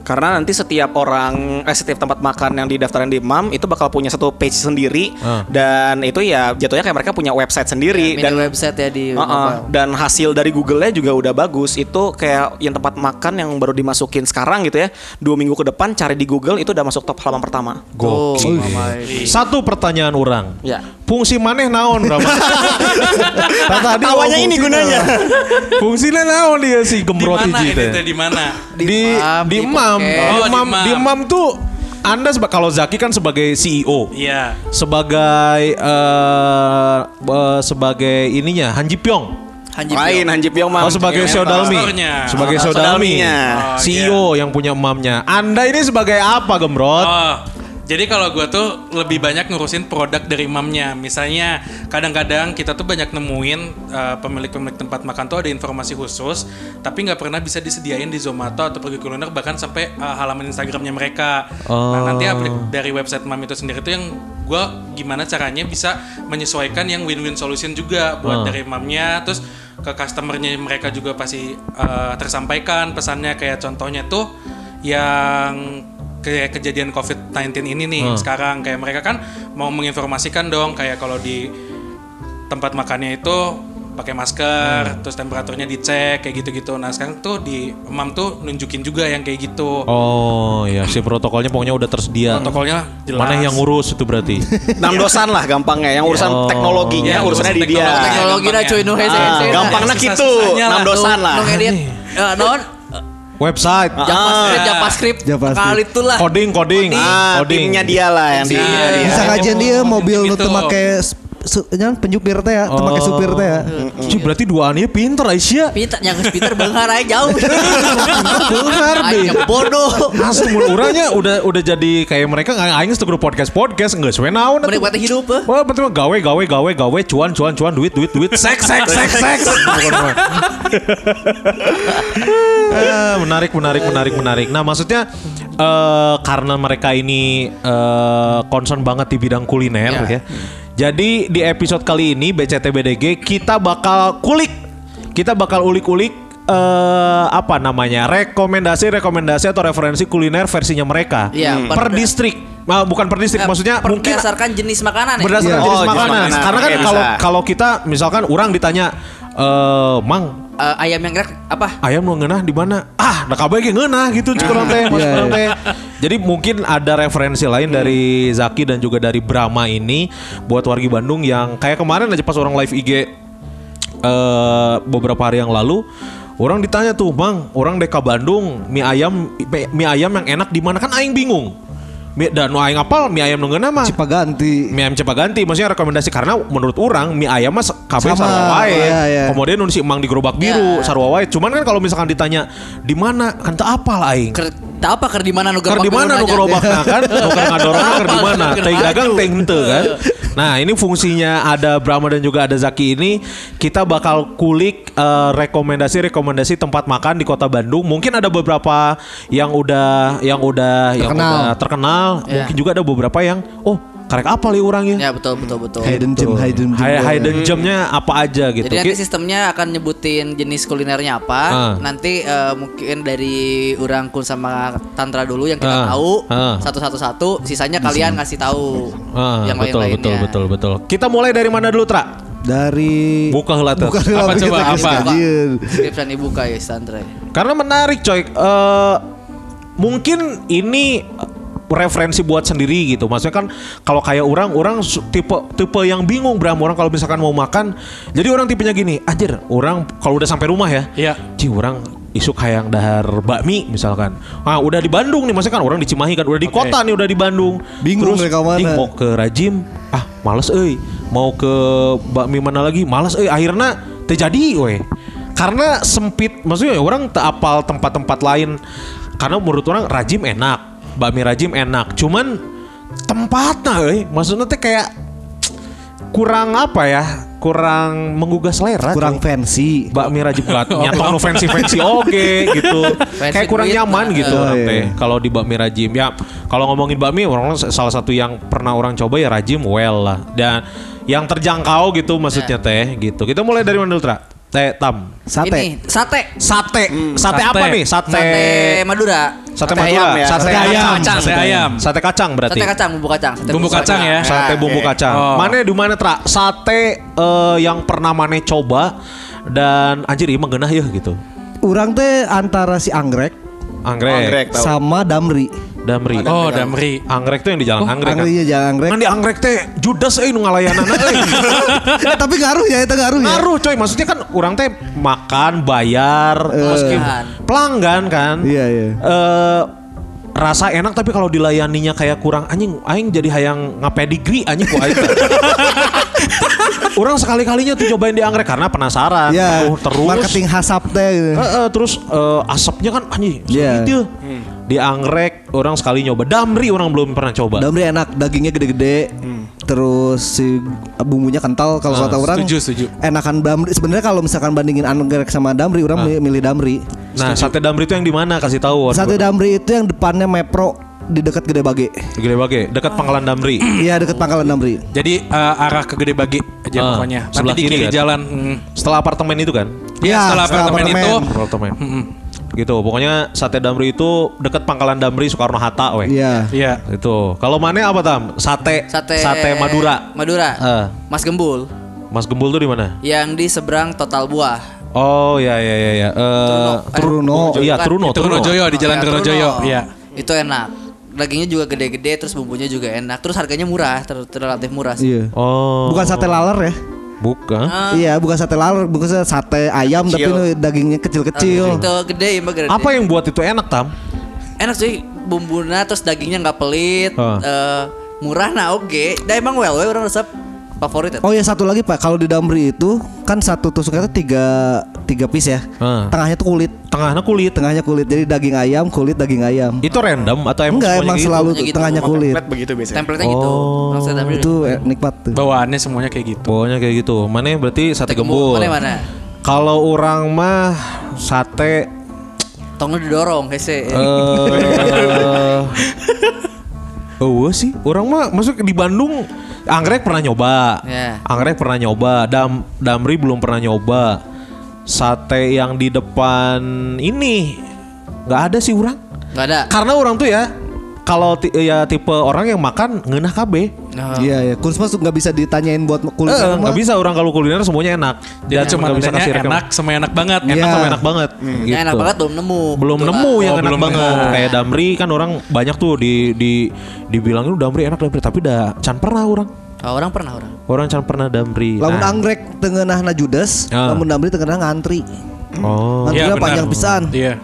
Karena nanti setiap orang, eh, setiap tempat makan yang didaftarin di MAM itu bakal punya satu page sendiri
Ah.
dan itu ya jatuhnya kayak mereka punya website sendiri
Mini
dan
website ya di
Uh-uh,
mobile.
dan hasil dari Google-nya juga udah bagus. Itu kayak yang tempat makan yang baru dimasukin sekarang gitu ya. Dua minggu ke depan cari di Google itu udah masuk top halaman pertama.
Gokil. Satu pertanyaan orang.
Ya.
Fungsi maneh naon berapa?
Tadi
Tawanya
ngomong
ini
gitu.
gunanya.
Fungsinya naon dia si
Di
gembrot
mana
hiji
ini
teh?
teh, di mana?
di di
Mam,
di
di
Mam,
Pocket.
Di
Oh, di
Mam,
Mam.
di Mam tuh Anda seba- kalau Zaki kan sebagai CEO,
Iya.
sebagai eh, eh, sebagai ininya Han Ji Pyong.
Hanji
Lain
Pio.
Hanji Pyong Iya. mah.
Oh sebagai
Yang
Shodalmi,
investornya.
sebagai
Oh,
Shodalmi,
Shodalminya.
iya.
Oh,
CEO E yang punya emamnya. Anda ini sebagai apa Gembrot?
Oh, jadi kalau gue tuh lebih banyak ngurusin produk dari mamnya. Misalnya kadang-kadang kita tuh banyak nemuin eh, pemilik-pemilik tempat makan tuh ada informasi khusus, tapi nggak pernah bisa disediain di Zomato atau pergi kuliner bahkan sampai eh, halaman Instagramnya mereka.
Oh.
Nah nanti aplik- dari website mam itu sendiri tuh yang gue gimana caranya bisa menyesuaikan yang win-win solution juga
Oh.
buat dari mamnya, terus ke customernya mereka juga pasti eh, tersampaikan pesannya kayak contohnya tuh yang kayak kejadian COVID-19 ini nih
Oh.
sekarang kayak mereka kan mau menginformasikan dong kayak kalau di tempat makannya itu pakai
Hmm.
masker, terus temperaturnya dicek kayak gitu-gitu. Nah sekarang tuh di Emam tuh nunjukin juga yang kayak gitu.
Oh ya si protokolnya pokoknya udah tersedia.
Protokolnya jelas.
Mana yang ngurus itu (laughs) berarti?
Enam dosan lah gampangnya, yang urusan
Oh.
teknologinya,
Iya,
urusannya di
urusan
dia.
teknologi.
Teknologi lah cuy, nu hese hese.
Ah, gampangnya
Susah-
gitu,
susahnya lah.
enam
Iya,
dosan lah.
Nung edit. Eh, Non,
Website,
JavaScript, JavaScript.
JavaScript.
Kali itulah.
coding, coding,
Ah, timnya dia lah yang di.
Iya, iya.
Nah, Bisa kajian dia
Oh,
mobil nu
gitu.
teu make su- su- nyan penjupir teh ya, teu make supir teh ya.
Cih, berarti duaannya pinter Aisyah.
Peter, yang Peter bengar aja jauh.
Bener deh.
Aing bodoh.
Asli mun urangnya udah udah jadi kayak mereka nggak aing tuh grup podcast podcast nggak sesuai naon atuh.
Menikmati hidup. eh.
Wah betul gawe gawe gawe gawe cuan cuan cuan duit duit duit seks seks seks seks. (laughs) Bukan, bukan. Eh, menarik menarik menarik menarik. Nah maksudnya eh, karena mereka ini eh, concern banget di bidang kuliner ya. Jadi di episode kali ini BCTBDG kita bakal kulik, kita bakal ulik-ulik eh, apa namanya rekomendasi-rekomendasi atau referensi kuliner versinya mereka
Iya,
per,
per-
distrik. Ah, bukan per distrik, maksudnya mungkin
Eh, Berdasarkan jenis makanan ya.
berdasarkan
Iya.
jenis
Oh, jenis
makanan.
makanan.
Karena kan
Oke,
kalau
bisa.
kalau kita misalkan orang ditanya eh mang
Eh, ayam yang gerak apa?
ayam nu ngeunah di mana? Ah, da kabeh ge ngeunah gitu cukup orang teh, mas
Iya,
orang
iya.
teh. Jadi mungkin ada referensi lain dari Zaki dan juga dari Brahma ini buat wargi Bandung yang kayak kemarin aja pas orang live IG eh beberapa hari yang lalu Orang ditanya tuh, Bang, orang Deka Bandung, mie ayam mie ayam yang enak di mana? Kan aing bingung. Mie, dan nu aing apal mie ayam nu ngeunah mah
Cipaganti.
mie ayam ganti maksudnya rekomendasi karena menurut orang mie ayam mas kabeh
Sama,
sarwa wae.
iya, iya.
Kemudian nu si emang di gerobak biru
Ya.
sarwa wae. Cuman kan kalau misalkan ditanya di mana kan teu apal aing.
Ker, tak apa ker di mana nu
Ker
gerobak
di mana nu
turun aja.
gerobakna kan? Nu keur ngadorongna ker di mana?
Ker
Teuing
maju.
dagang teuing henteu kan. Nah, ini fungsinya ada Brahma dan juga ada Zaki ini kita bakal kulik eh, rekomendasi-rekomendasi tempat makan di Kota Bandung. Mungkin ada beberapa yang udah yang udah yang
Terkenal.
udah terkenal.
Iya.
Mungkin juga ada beberapa yang oh karek apa li orangnya?
Ya betul betul betul.
Hidden gem, hidden gem.
Hi- hidden gemnya apa aja gitu.
Jadi
Ki-
nanti sistemnya akan nyebutin jenis kulinernya apa.
Ah.
Nanti eh, mungkin dari orang kun sama Tantra dulu yang kita
Ah,
tahu
ah.
satu-satu-satu. Sisanya kalian ngasih tahu
Ah,
yang
betul
lain-lainnya.
betul betul betul. Kita mulai dari mana dulu, Tra?
Dari
Buka heula teh.
Buka heula
Apa
kita
coba,
kasih
apa?
kajian.
Skripsan dibuka ya Tantra.
Karena menarik, coy. Eh, mungkin ini eh, referensi buat sendiri gitu. Maksudnya kan kalau kayak orang, orang su- tipe tipe yang bingung Bram orang kalau misalkan mau makan. Jadi orang tipenya gini, anjir, orang kalau udah sampai rumah ya.
Iya.
Cih, orang isuk hayang dahar bakmi misalkan. Ah, udah di Bandung nih, maksudnya kan orang di Cimahi kan, udah di kota nih, udah di Bandung.
Bingung
Terus,
mereka mana.
"Ih, mau ke Rajim, ah males euy. Mau ke bakmi mana lagi, males euy. Akhirnya teu jadi we. Karena sempit, maksudnya orang teu apal tempat-tempat lain. Karena menurut orang Rajim enak, bakmi Rajim enak. Cuman tempatnya euy, maksudnya teh kayak kurang apa ya? Kurang menggugah selera. coy
Kurang fancy.
bakmi rajib
(laughs)
gat nyatong nu fancy fancy oke gitu kayak kurang
duit,
nyaman
nah,
gitu
eh.
orang
Oh, iya.
teh kalau di bakmi rajim ya kalau ngomongin bakmi orang salah satu yang pernah orang coba ya rajim well lah dan yang terjangkau gitu maksudnya teh gitu kita mulai dari mana dulu Tra? teh tam
Ini
Sate.
sate.
sate sate apa
sate.
nih sate
Sate Madura.
Sate
sate
ayam
madura
ya,
sate
sate
ayam
kacang, sate ayam.
sate kacang berarti
Sate kacang, bumbu kacang. Sate
Bumbu kacang ya.
sate
Oke.
bumbu kacang.
Oh.
Mana di mana tra? Sate eh, yang pernah mana coba dan anjir ini menggenah ya gitu.
Urang teh antara si anggrek
Anggrek.
Anggrek. Tahu.
sama damri.
Damri.
Oh Damri.
Anggrek tuh yang di jalan anggrek. kan?
Anggreknya jangan Oh,
(laughs)
anggrek.
Kan di anggrek teh judas euy nu ngalayanan eh.
(laughs) Eh, tapi ngaruh ya, itu ngaruh ya.
Ngaruh coy, maksudnya kan orang teh makan, bayar, meski-
Pelanggan.
pelanggan kan.
Eh. Iya, iya.
Eh, rasa enak tapi kalau dilayaninya kayak kurang anjing aing jadi hayang ngapedigri anjing ku aing.
(laughs)
orang sekali-kalinya tuh cobain di anggrek karena penasaran.
Ya,
Aduh, terus
marketing hasap teh. gitu.
Eh, eh, terus eh, asapnya kan anjing
Iya.
sakit ya. Di anggrek orang sekali nyoba. Damri orang belum pernah coba.
Damri enak, dagingnya gede-gede, terus si bumbunya kental. Kalau kata orang,
setuju, setuju.
enakan damri. Sebenarnya kalau misalkan bandingin anggrek sama damri, orang milih- milih damri.
Nah, sate damri itu yang di mana? Kasih tahu.
Sate damri itu yang depannya Mepro di dekat Gede Bage.
Gede Bage, dekat Pangkalan Damri.
Iya, dekat pangkalan damri.
Jadi eh, arah ke Gede Bagi aja
Ah,
pokoknya. Nanti
sebelah
di
kiri
kiri
kan?
jalan. Hmm.
Setelah apartemen itu kan?
Ya,
Ya,
setelah
setelah
apartemen itu
apartemen.
Apartemen. Gitu, pokoknya sate damri itu dekat Pangkalan Damri Soekarno Hatta weh.
Iya.
Iya.
Itu. Kalau mana apa tam? Sate
Sate
Madura.
Madura.
Eh.
Mas Gembul.
Mas Gembul tuh di mana?
Yang di seberang total buah.
Oh ya ya ya ya. Eh,
Truno.
Truno. Iya,
Bukan.
Truno, Truno.
Trunojoyo di Jalan
Ya,
Trunojoyo. Iya.
Itu enak. Dagingnya juga gede-gede, terus bumbunya juga enak, terus harganya murah, ter- relatif murah sih.
Iya.
Oh.
Bukan sate laler ya?
Bukan.
Ah,
Iya, bukan sate laler, bukan sate ayam tapi ini dagingnya kecil-kecil.
Itu gede, emang gede.
Iya. Apa yang buat itu enak, Tam?
Enak sih bumbunya, terus dagingnya nggak pelit,
Ah.
eh, murah nah oke. Dah emang well, well orang resep favorit. ya.
Oh ya satu lagi Pak, kalau di Damri itu kan satu tusuk itu tiga tiga piece ya.
Ah.
Tengahnya tuh kulit,
Tengahnya kulit.
tengahnya kulit. Jadi daging ayam, kulit daging ayam.
Itu random atau emang
Enggak
semuanya
emang
gitu?
selalu
Semuanya gitu.
tengahnya
Emang
kulit.
template begitu biasanya.
Template-nya gitu.
Oh.
Orang sedap dulu.
Itu eh, nikmat tuh.
Bawaannya semuanya kayak gitu.
Pokoknya kayak gitu. Mana berarti sate
Gembul,
gembul.
Mana mana?
Kalau orang mah sate
Tong lu didorong, hese. (laughs)
eh Oh sih, orang mah masuk di Bandung anggrek pernah nyoba.
Ya.
Anggrek pernah nyoba, Dam Damri belum pernah nyoba. Sate yang di depan ini nggak ada sih orang.
Nggak ada.
Karena orang tuh ya kalau ti- ya tipe orang yang makan ngeunah kabeh.
Nah,
Iya ya, kulis mas tuh nggak bisa ditanyain buat kulit.
Eh, nggak bisa orang kalau kuliner semuanya enak.
Jadi cuma
nggak
bedanya
Iya, kasih rekom-
Ya, enak sama enak banget.
Enak
Iya.
sama enak banget.
yang Ya, enak
gitu.
banget belum nemu.
belum
Betul,
nemu
Pak.
yang
Oh,
enak
belum
banget
nemu.
kayak Damri kan orang banyak tuh di di dibilangin "Lu Damri enak Damri tapi dah can pernah orang
Oh, orang pernah orang.
orang can pernah Damri
Lamun
Nah.
anggrek tengenahna judes,
Ah.
lamun Damri tengenah ngantri.
oh
Nanti
Iya,
dia
benar.
panjang pisan.
Iya.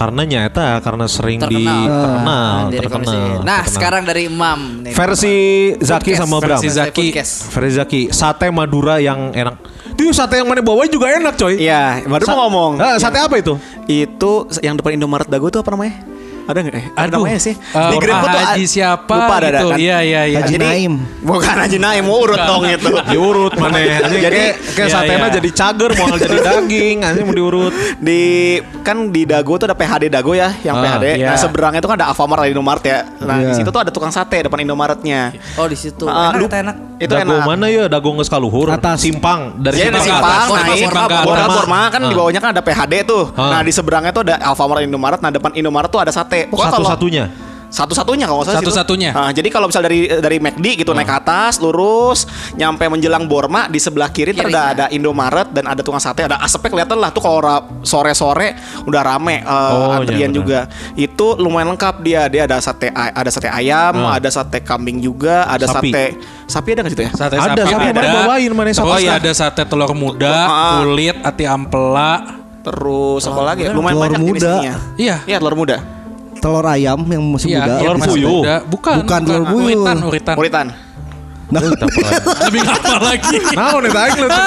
karena nyata karena sering di
Terkenal.
terkenal
Nah, dari
terkenal,
komisi. Nah,
terkenal.
sekarang dari Imam. Nih,
versi Zaki
Podcast.
sama Bram
Versi Zaki.
Podcast.
versi Zaki sate Madura yang enak itu sate yang mana bawa juga enak coy
Iya, baru
Sa-
mau ngomong.
Ah, sate apa itu
Itu yang depan Indomaret Dago itu apa namanya? Ada nggak? Eh, ada
Aduh.
namanya sih.
Eh,
Grab
Pak
tuh
Haji
a-
siapa
Lupa ada
gitu.
ada kan?
Iya, iya, iya.
Haji
Jadi-
Naim.
Bukan Haji Naim, urut
(laughs)
dong itu.
diurut mana
ya?
Jadi,
jadi kayak
iya,
ya.
satenya
iya.
jadi cager mau jadi daging anjing mau diurut
di kan di Dago tuh ada PHD Dago ya yang
Ah,
PHD.
iya.
Nah seberangnya tuh kan ada Alfamart ada Indomaret ya. Nah di
Iya.
situ tuh ada tukang sate depan Indomaretnya.
Oh, di situ.
Ah,
enak,
lu-
kata enak.
Itu
dago
enak.
mana ya dago nggak sekaluhur
Atas.
simpang Iya, dari
Jadi
simpang,
Iya, nasi
ke
ke
pang
atas,
naik,
nasi pang ke atas.
borma borma kan di
Ah.
bawahnya kan ada PHD tuh.
Ah.
Nah di seberangnya tuh ada Alfamart Indomaret. Nah depan Indomaret tuh ada sate.
Oh,
Pokoknya kalau-
satu-satunya?
Satu-satunya kalau nggak salah situ.
Satu-satunya.
Ah, jadi kalau misal dari dari McD gitu naik ke atas lurus nyampe menjelang Borma di sebelah kiri ntar
Kirinya.
ada ada Indomaret dan ada tukang sate ada asapnya kelihatan lah tuh kalau ra- sore-sore udah rame eh,
Oh, iya,
antrian
benar.
juga. Itu lumayan lengkap dia. Dia ada sate ay- ada sate ayam,
Ah.
ada sate kambing juga, ada
Sapi.
sate sapi ada nggak situ ya?
Sate
Ada,
sapi
sapi
ada.
kemarin bawain, mana sapi
Terus
sapi.
Oh, iya, ada sate telur muda,
Ah.
kulit, ati ampela.
Terus apa lagi? ya? Lumayan
Telur
banyak
muda.
jenisnya.
Iya.
Iya, telur muda.
Telur ayam yang masih muda.
telur
masih
puyuh.
muda. Bukan,
Bukan telur puyuh.
Uritan, uritan.
Muritan.
Nah,
Lebih apa lagi?
Nah, nih tarik lu tuh.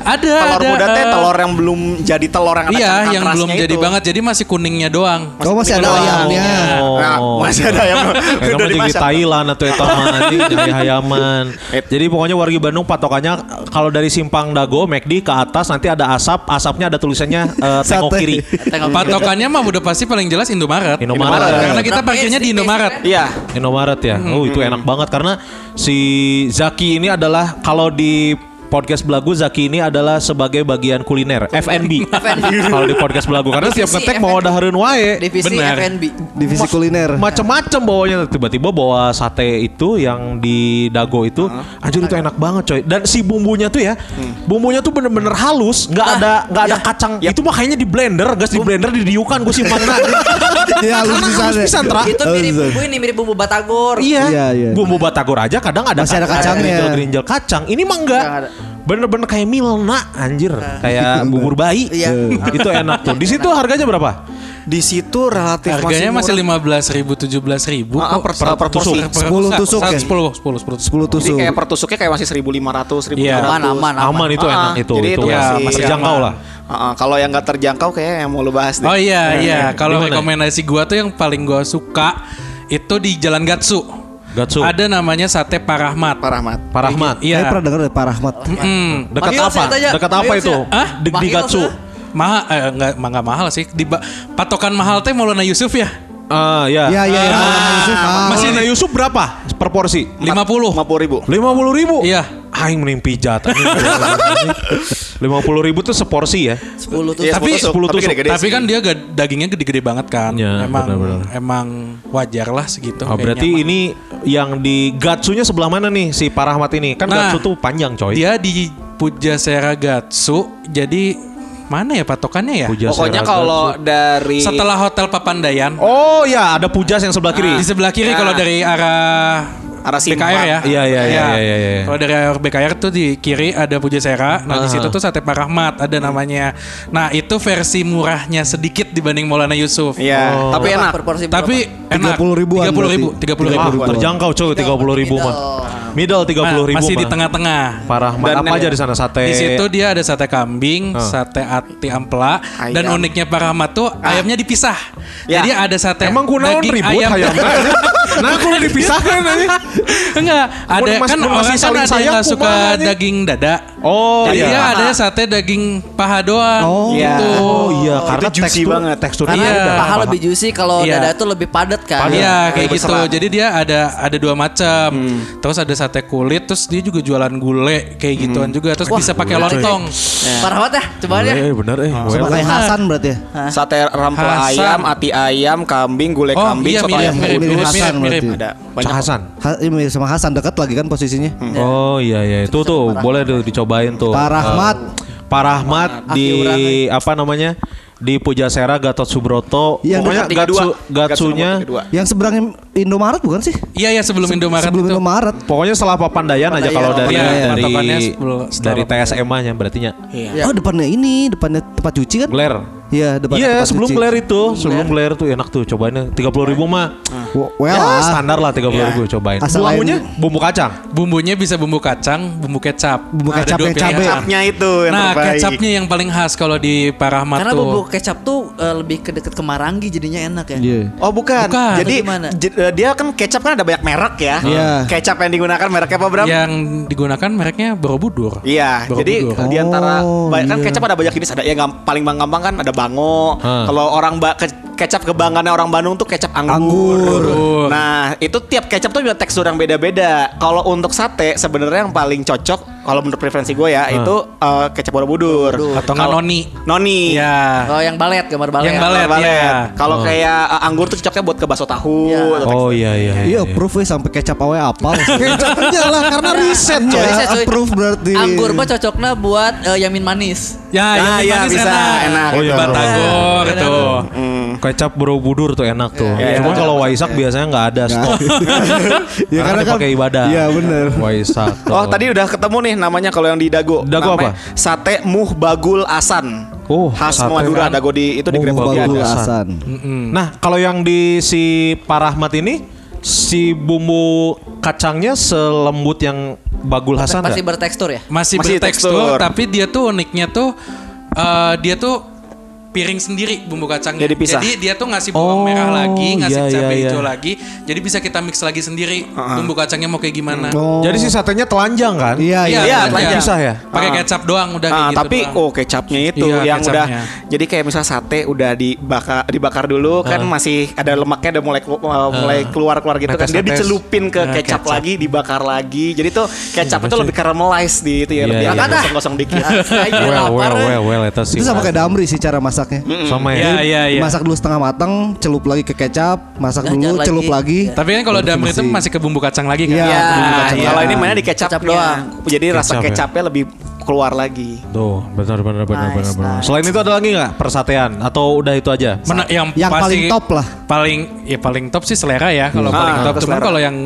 ada,
Telur
ada.
muda teh
eh,
telur yang belum jadi telur yang ada
Iya,
cangkang
yang
kerasnya
belum jadi
itu.
banget. Jadi masih kuningnya doang.
oh masih ada
Doang.
ayamnya.
Oh.
Nah, masih ada
(laughs)
yang
Eta
udah
mah jadi
dimasak.
Thailand atau eta
(laughs)
mah anjing, jadi hayaman.
Et-
Jadi pokoknya warga Bandung patokannya kalau dari Simpang Dago McD ke atas nanti ada asap, asapnya ada tulisannya eh, tengok
Sate.
kiri.
Tengok
Patokannya mah udah pasti paling jelas Indomaret.
Indomaret.
Karena kita
Tapi
parkirnya
SD
di Indomaret.
Iya.
Indomaret ya. Oh, itu enak banget karena si Zaki ini adalah kalau di podcast Belagu Zaki ini adalah sebagai bagian kuliner F&B. (laughs) kalau di podcast Belagu karena setiap
Divisi
ngetek mau
F&B.
ada hereun wae.
Divisi
Benar.
F&B.
Divisi kuliner.
macem-macem bawanya tiba-tiba bawa sate itu yang di dago itu anjir itu enak banget coy dan si bumbunya tuh ya
Hmm.
bumbunya tuh bener-bener halus nggak ada nggak
Iya.
ada kacang itu mah kayaknya di blender gas di blender didiukan gue simpan
(laughs) Iya, halus pisan ya.
pisan Tra.
Itu mirip bumbu ini, mirip bumbu batagor.
Iya, iya.
iya bumbu batagor aja kadang ada
Masih ada kacangnya.
gerinjel gerinjel kacang ini mah enggak
Enggak ada.
bener-bener kayak Milna anjir kayak bubur bayi
Iya.
itu enak tuh di situ harganya berapa
Di situ relatif
Harganya masih
murah.
15 ribu, 17 ribu
Ah, per- per porsi.
10 tusuk ya?
10, 10, 10
10
tusuk.
Jadi
tusuk.
kayak per tusuknya kayak masih 1500, 1700.
Iya.
Aman, aman,
aman,
aman.
itu
Ah,
enak itu
jadi
itu,
itu
ya,
masih
masih terjangkau
aman.
lah
Ah, ah, kalau yang nggak terjangkau kayak yang mau lo bahas Nah, deh.
Oh iya iya, kalau
Di mana?
rekomendasi gua tuh yang paling gua suka itu di Jalan Gatsu.
Gatsu.
Ada namanya sate Pak Rahmat.
Pak Rahmat.
Pak Rahmat
Saya
Iya.
pernah dengar dari Pak Rahmat.
Mm.
Dekat
Mahil
apa?
sih katanya.
Dekat apa
Mahil
itu?
sih.
Hah?
Di, di
Mahil
Gatsu.
sih.
Mahal eh, enggak, ma- enggak mahal sih. Di ba- patokan mahal teh Maulana Yusuf ya?
Ah, ya.
Iya, iya, iya. Maulana Yusuf. Ah.
Maulana Yusuf berapa per porsi?
50.
50 ribu.
50 ribu?
Iya.
aing mending pijat lima puluh ribu tuh seporsi ya
10 tuh
Iya,
tapi
10 tusuk,
10
tapi
tusuk.
gede-gede.
Tapi kan dia gak, dagingnya gede-gede banget kan.
Ya,
emang
benar-benar.
emang wajar lah segitu.
Oh, berarti
Gitu, kayaknya mah.
ini yang di Gatsunya sebelah mana nih si Pak Rahmat ini? Kan
Nah,
Gatsu tuh panjang coy.
dia di Pujasera Gatsu. Jadi mana ya patokannya ya?
Puja
Pokoknya
Seragam.
kalau dari
Setelah Hotel Papandayan.
Oh ya, ada Pujas yang sebelah kiri. Ah,
Di sebelah kiri
Nah.
kalau dari arah
Arah Simpang.
BKR ya.
Iya, iya, iya, iya, iya, iya.
Kalau dari arah BKR tuh di kiri ada
Ah.
Pujasera. Nah, di situ tuh sate Pak Rahmat ada namanya. Nah, itu versi murahnya sedikit dibanding Maulana Yusuf.
Iya, tapi enak.
per porsi berapa?
Tapi enak.
30 ribuan
30 ribu,
berarti.
30 ribu.
Ah, terjangkau coy 30 ribu mah. Middle 30
Nah,
ribu
masih di
mah.
tengah-tengah.
Parah
Dan
banget. Apa
yang-
aja di sana sate?
Di situ dia ada sate
Ah.
kambing, sate ati ampela,
Ayam.
dan uniknya Pak Rahmat tuh
Ah.
ayamnya dipisah.
Ya.
Jadi ada sate
Emang kunaon
daging
ribut
ayam. (laughs)
hayamna? Nah, kudu dipisahkan ini.
Enggak, ada
Mas-
kan
masih
orang kan
saling
ada yang
sayang
nggak suka
kumaha nih?
daging dada.
Oh
Jadi gitu. dia
iya.
ada sate daging paha doang
Oh
gitu.
iya. Oh iya,
Itu
karena
juicy
tekstur
banget.
teksturnya
Karena
beda.
paha lebih juicy kalau
Iya.
dada tuh lebih padat kan.
Iya kayak
Lebih
gitu.
serat.
Jadi dia ada ada dua macam. Terus ada sate kulit, terus dia juga jualan gule kayak gituan juga. Terus bisa pakai lontong.
Parah banget ya, coba ya.
Eh bener eh.
Sama
well.
kayak Hasan berarti ya.
Sate rampel
Hasan.
ayam, ati ayam, kambing, gulai
Oh
kambing,
iya
soto
mirip
ayam.
yang
mirip
kulit
mirip,
Hasan
mirip, mirip.
berarti.
Ada banyak.
Hasan.
Ha- ini sama Hasan dekat lagi kan posisinya.
Oh iya iya itu tuh boleh tuh dicobain tuh.
Pak Rahmat.
Eh, Pak Rahmat di apa namanya? Di Pujasera Gatot Subroto.
Yang
Pokoknya
dekat tiga dua.
Gatsu,
Gatsu nomor
Gatsunya
tiga dua.
Yang seberangnya Indomaret bukan sih?
Iya iya sebelum Indomaret
Sebelum
itu.
Indomaret.
Pokoknya setelah Papandayan aja kalau dari
Iya,
dari
patokannya sebelum- setelah
dari TSMA-nya berarti nya.
Oh depannya ini, depannya tempat cuci kan?
Gler.
Iya, depan
Iya,
tempat
sebelum
cuci.
Gler itu, sebelum Gler tuh enak tuh cobainnya 30 ribu mah.
W- Well,
Ya,
lah.
standar lah 30 ribu cobain.
Asal lain-
Bumbunya bumbu kacang.
Bumbunya bisa bumbu kacang, bumbu kecap.
Bumbu
Ada
kecap
dua
yang cabe.
pilihan.
Kecapnya itu yang
Nah,
terbaik.
kecapnya yang paling khas kalau di Parahmat
Karena
tuh.
bumbu kecap tuh eh, lebih ke deket ke marangi jadinya enak ya.
Iya.
Oh bukan.
Bukan.
Jadi
Jadi gimana?
j- eh, dia kan kecap kan ada banyak merek ya.
Iya.
Kecap yang digunakan mereknya apa Bram?
yang digunakan mereknya Borobudur.
Iya,
Borobudur.
jadi di antara
Oh,
ba- kan
iya.
kecap ada banyak jenis, ada yang gam- paling gampang kan ada bango.
Hah.
Kalau orang ba- ke- kecap kebanggaannya orang Bandung tuh kecap anggur.
Anggur.
Nah, itu tiap kecap tuh punya tekstur yang beda-beda. Kalau untuk sate sebenarnya yang paling cocok kalau menurut preferensi gue ya itu eh, kecap Borobudur
Atau nggak
Kalau-
noni.
Noni.
Iya.
Oh yang balet, gambar balet.
Yang balet.
Balet.
iya.
Kalau kayak eh, anggur tuh cocoknya buat ke bakso tahu.
Iya.
atau
Oh iya iya.
Iya, proof ya sampai kecap awe apal. Kecapnya lah karena
Iya.
riset
Coy, riset, coy.
Proof berarti. Oh, iya.
Anggur (laughs) mah cocoknya buat eh, yamin manis.
Ya,
Nah,
yang
iya,
manis
bisa, enak.
Oh,
Di
iya.
Batagor tuh.
Kecap Borobudur tuh enak tuh.
Iya. Iya.
Cuma kalau Waisak biasanya nggak ada stok.
Ya, karena kan-
pakai ibadah.
Iya, bener.
Waisak.
Oh,
tuh.
tadi udah ketemu nih namanya kalau yang di Dago.
Dago
Namanya
apa?
Sate Muh Bagul Asan.
Oh,
khas
sate
Madura
kan.
Dago di itu di Grand
Bumbu
Bogor
bagul
ada.
Hasan.
Nah, kalau yang di si Pak Rahmat ini si bumbu kacangnya selembut yang Bagul Hasan
Pasti
nggak?
bertekstur ya.
Masih,
Masih
bertekstur,
tekstur.
tapi dia tuh uniknya tuh eh, dia tuh piring sendiri bumbu kacangnya.
Jadi pisah.
dia tuh ngasih
Oh,
bawang merah lagi, ngasih
iya,
cabai
iya,
hijau
iya.
lagi. Jadi bisa kita mix lagi sendiri
Uh-uh.
bumbu kacangnya mau kayak gimana.
Jadi si satenya telanjang kan?
Iya, iya.
Oh, iya,
telanjang.
Pisah ya?
Pakai
Ah.
kecap doang udah kayak
Ah,
gitu
tapi
doang.
oh kecapnya itu
Iya,
yang udah
kecapnya.
jadi kayak misal sate udah dibakar dibakar
Ah.
dulu kan masih ada lemaknya udah mulai kelu- uh, mulai keluar-keluar gitu kan dia
Netes-netes.
dicelupin ke
Ah,
kecap,
kecap.
lagi dibakar lagi. Jadi tuh kecap itu lebih caramelize di itu ya
Iya,
lebih
iya.
agak
Makanya.
gosong-gosong
(laughs)
dikit.
Well, well, well, well, itu sih.
Itu sama kayak damri sih cara masaknya.
Sama ya.
Iya, iya, iya.
Masak dulu setengah matang, celup lagi ke kecap, masak
Ganjar
dulu,
lagi. Iya.
celup lagi.
Tapi kan kalau
Baru
damri itu
masih-
masih ke bumbu kacang lagi kan.
Ya,
Iya, ke bumbu
nah,
kacang.
kalau ini mainnya di kecap
Kecapnya.
doang. Jadi rasa
Kecap ya.
kecapnya lebih keluar lagi.
Tuh, benar benar benar
Nice,
benar benar.
nice.
Selain itu ada lagi nggak persatean atau udah itu aja?
Mana- yang,
Yang
pasti-
paling top lah.
Paling ya paling top sih selera ya kalau
Hmm.
paling
Ah,
top. Cuman
selera.
kalau yang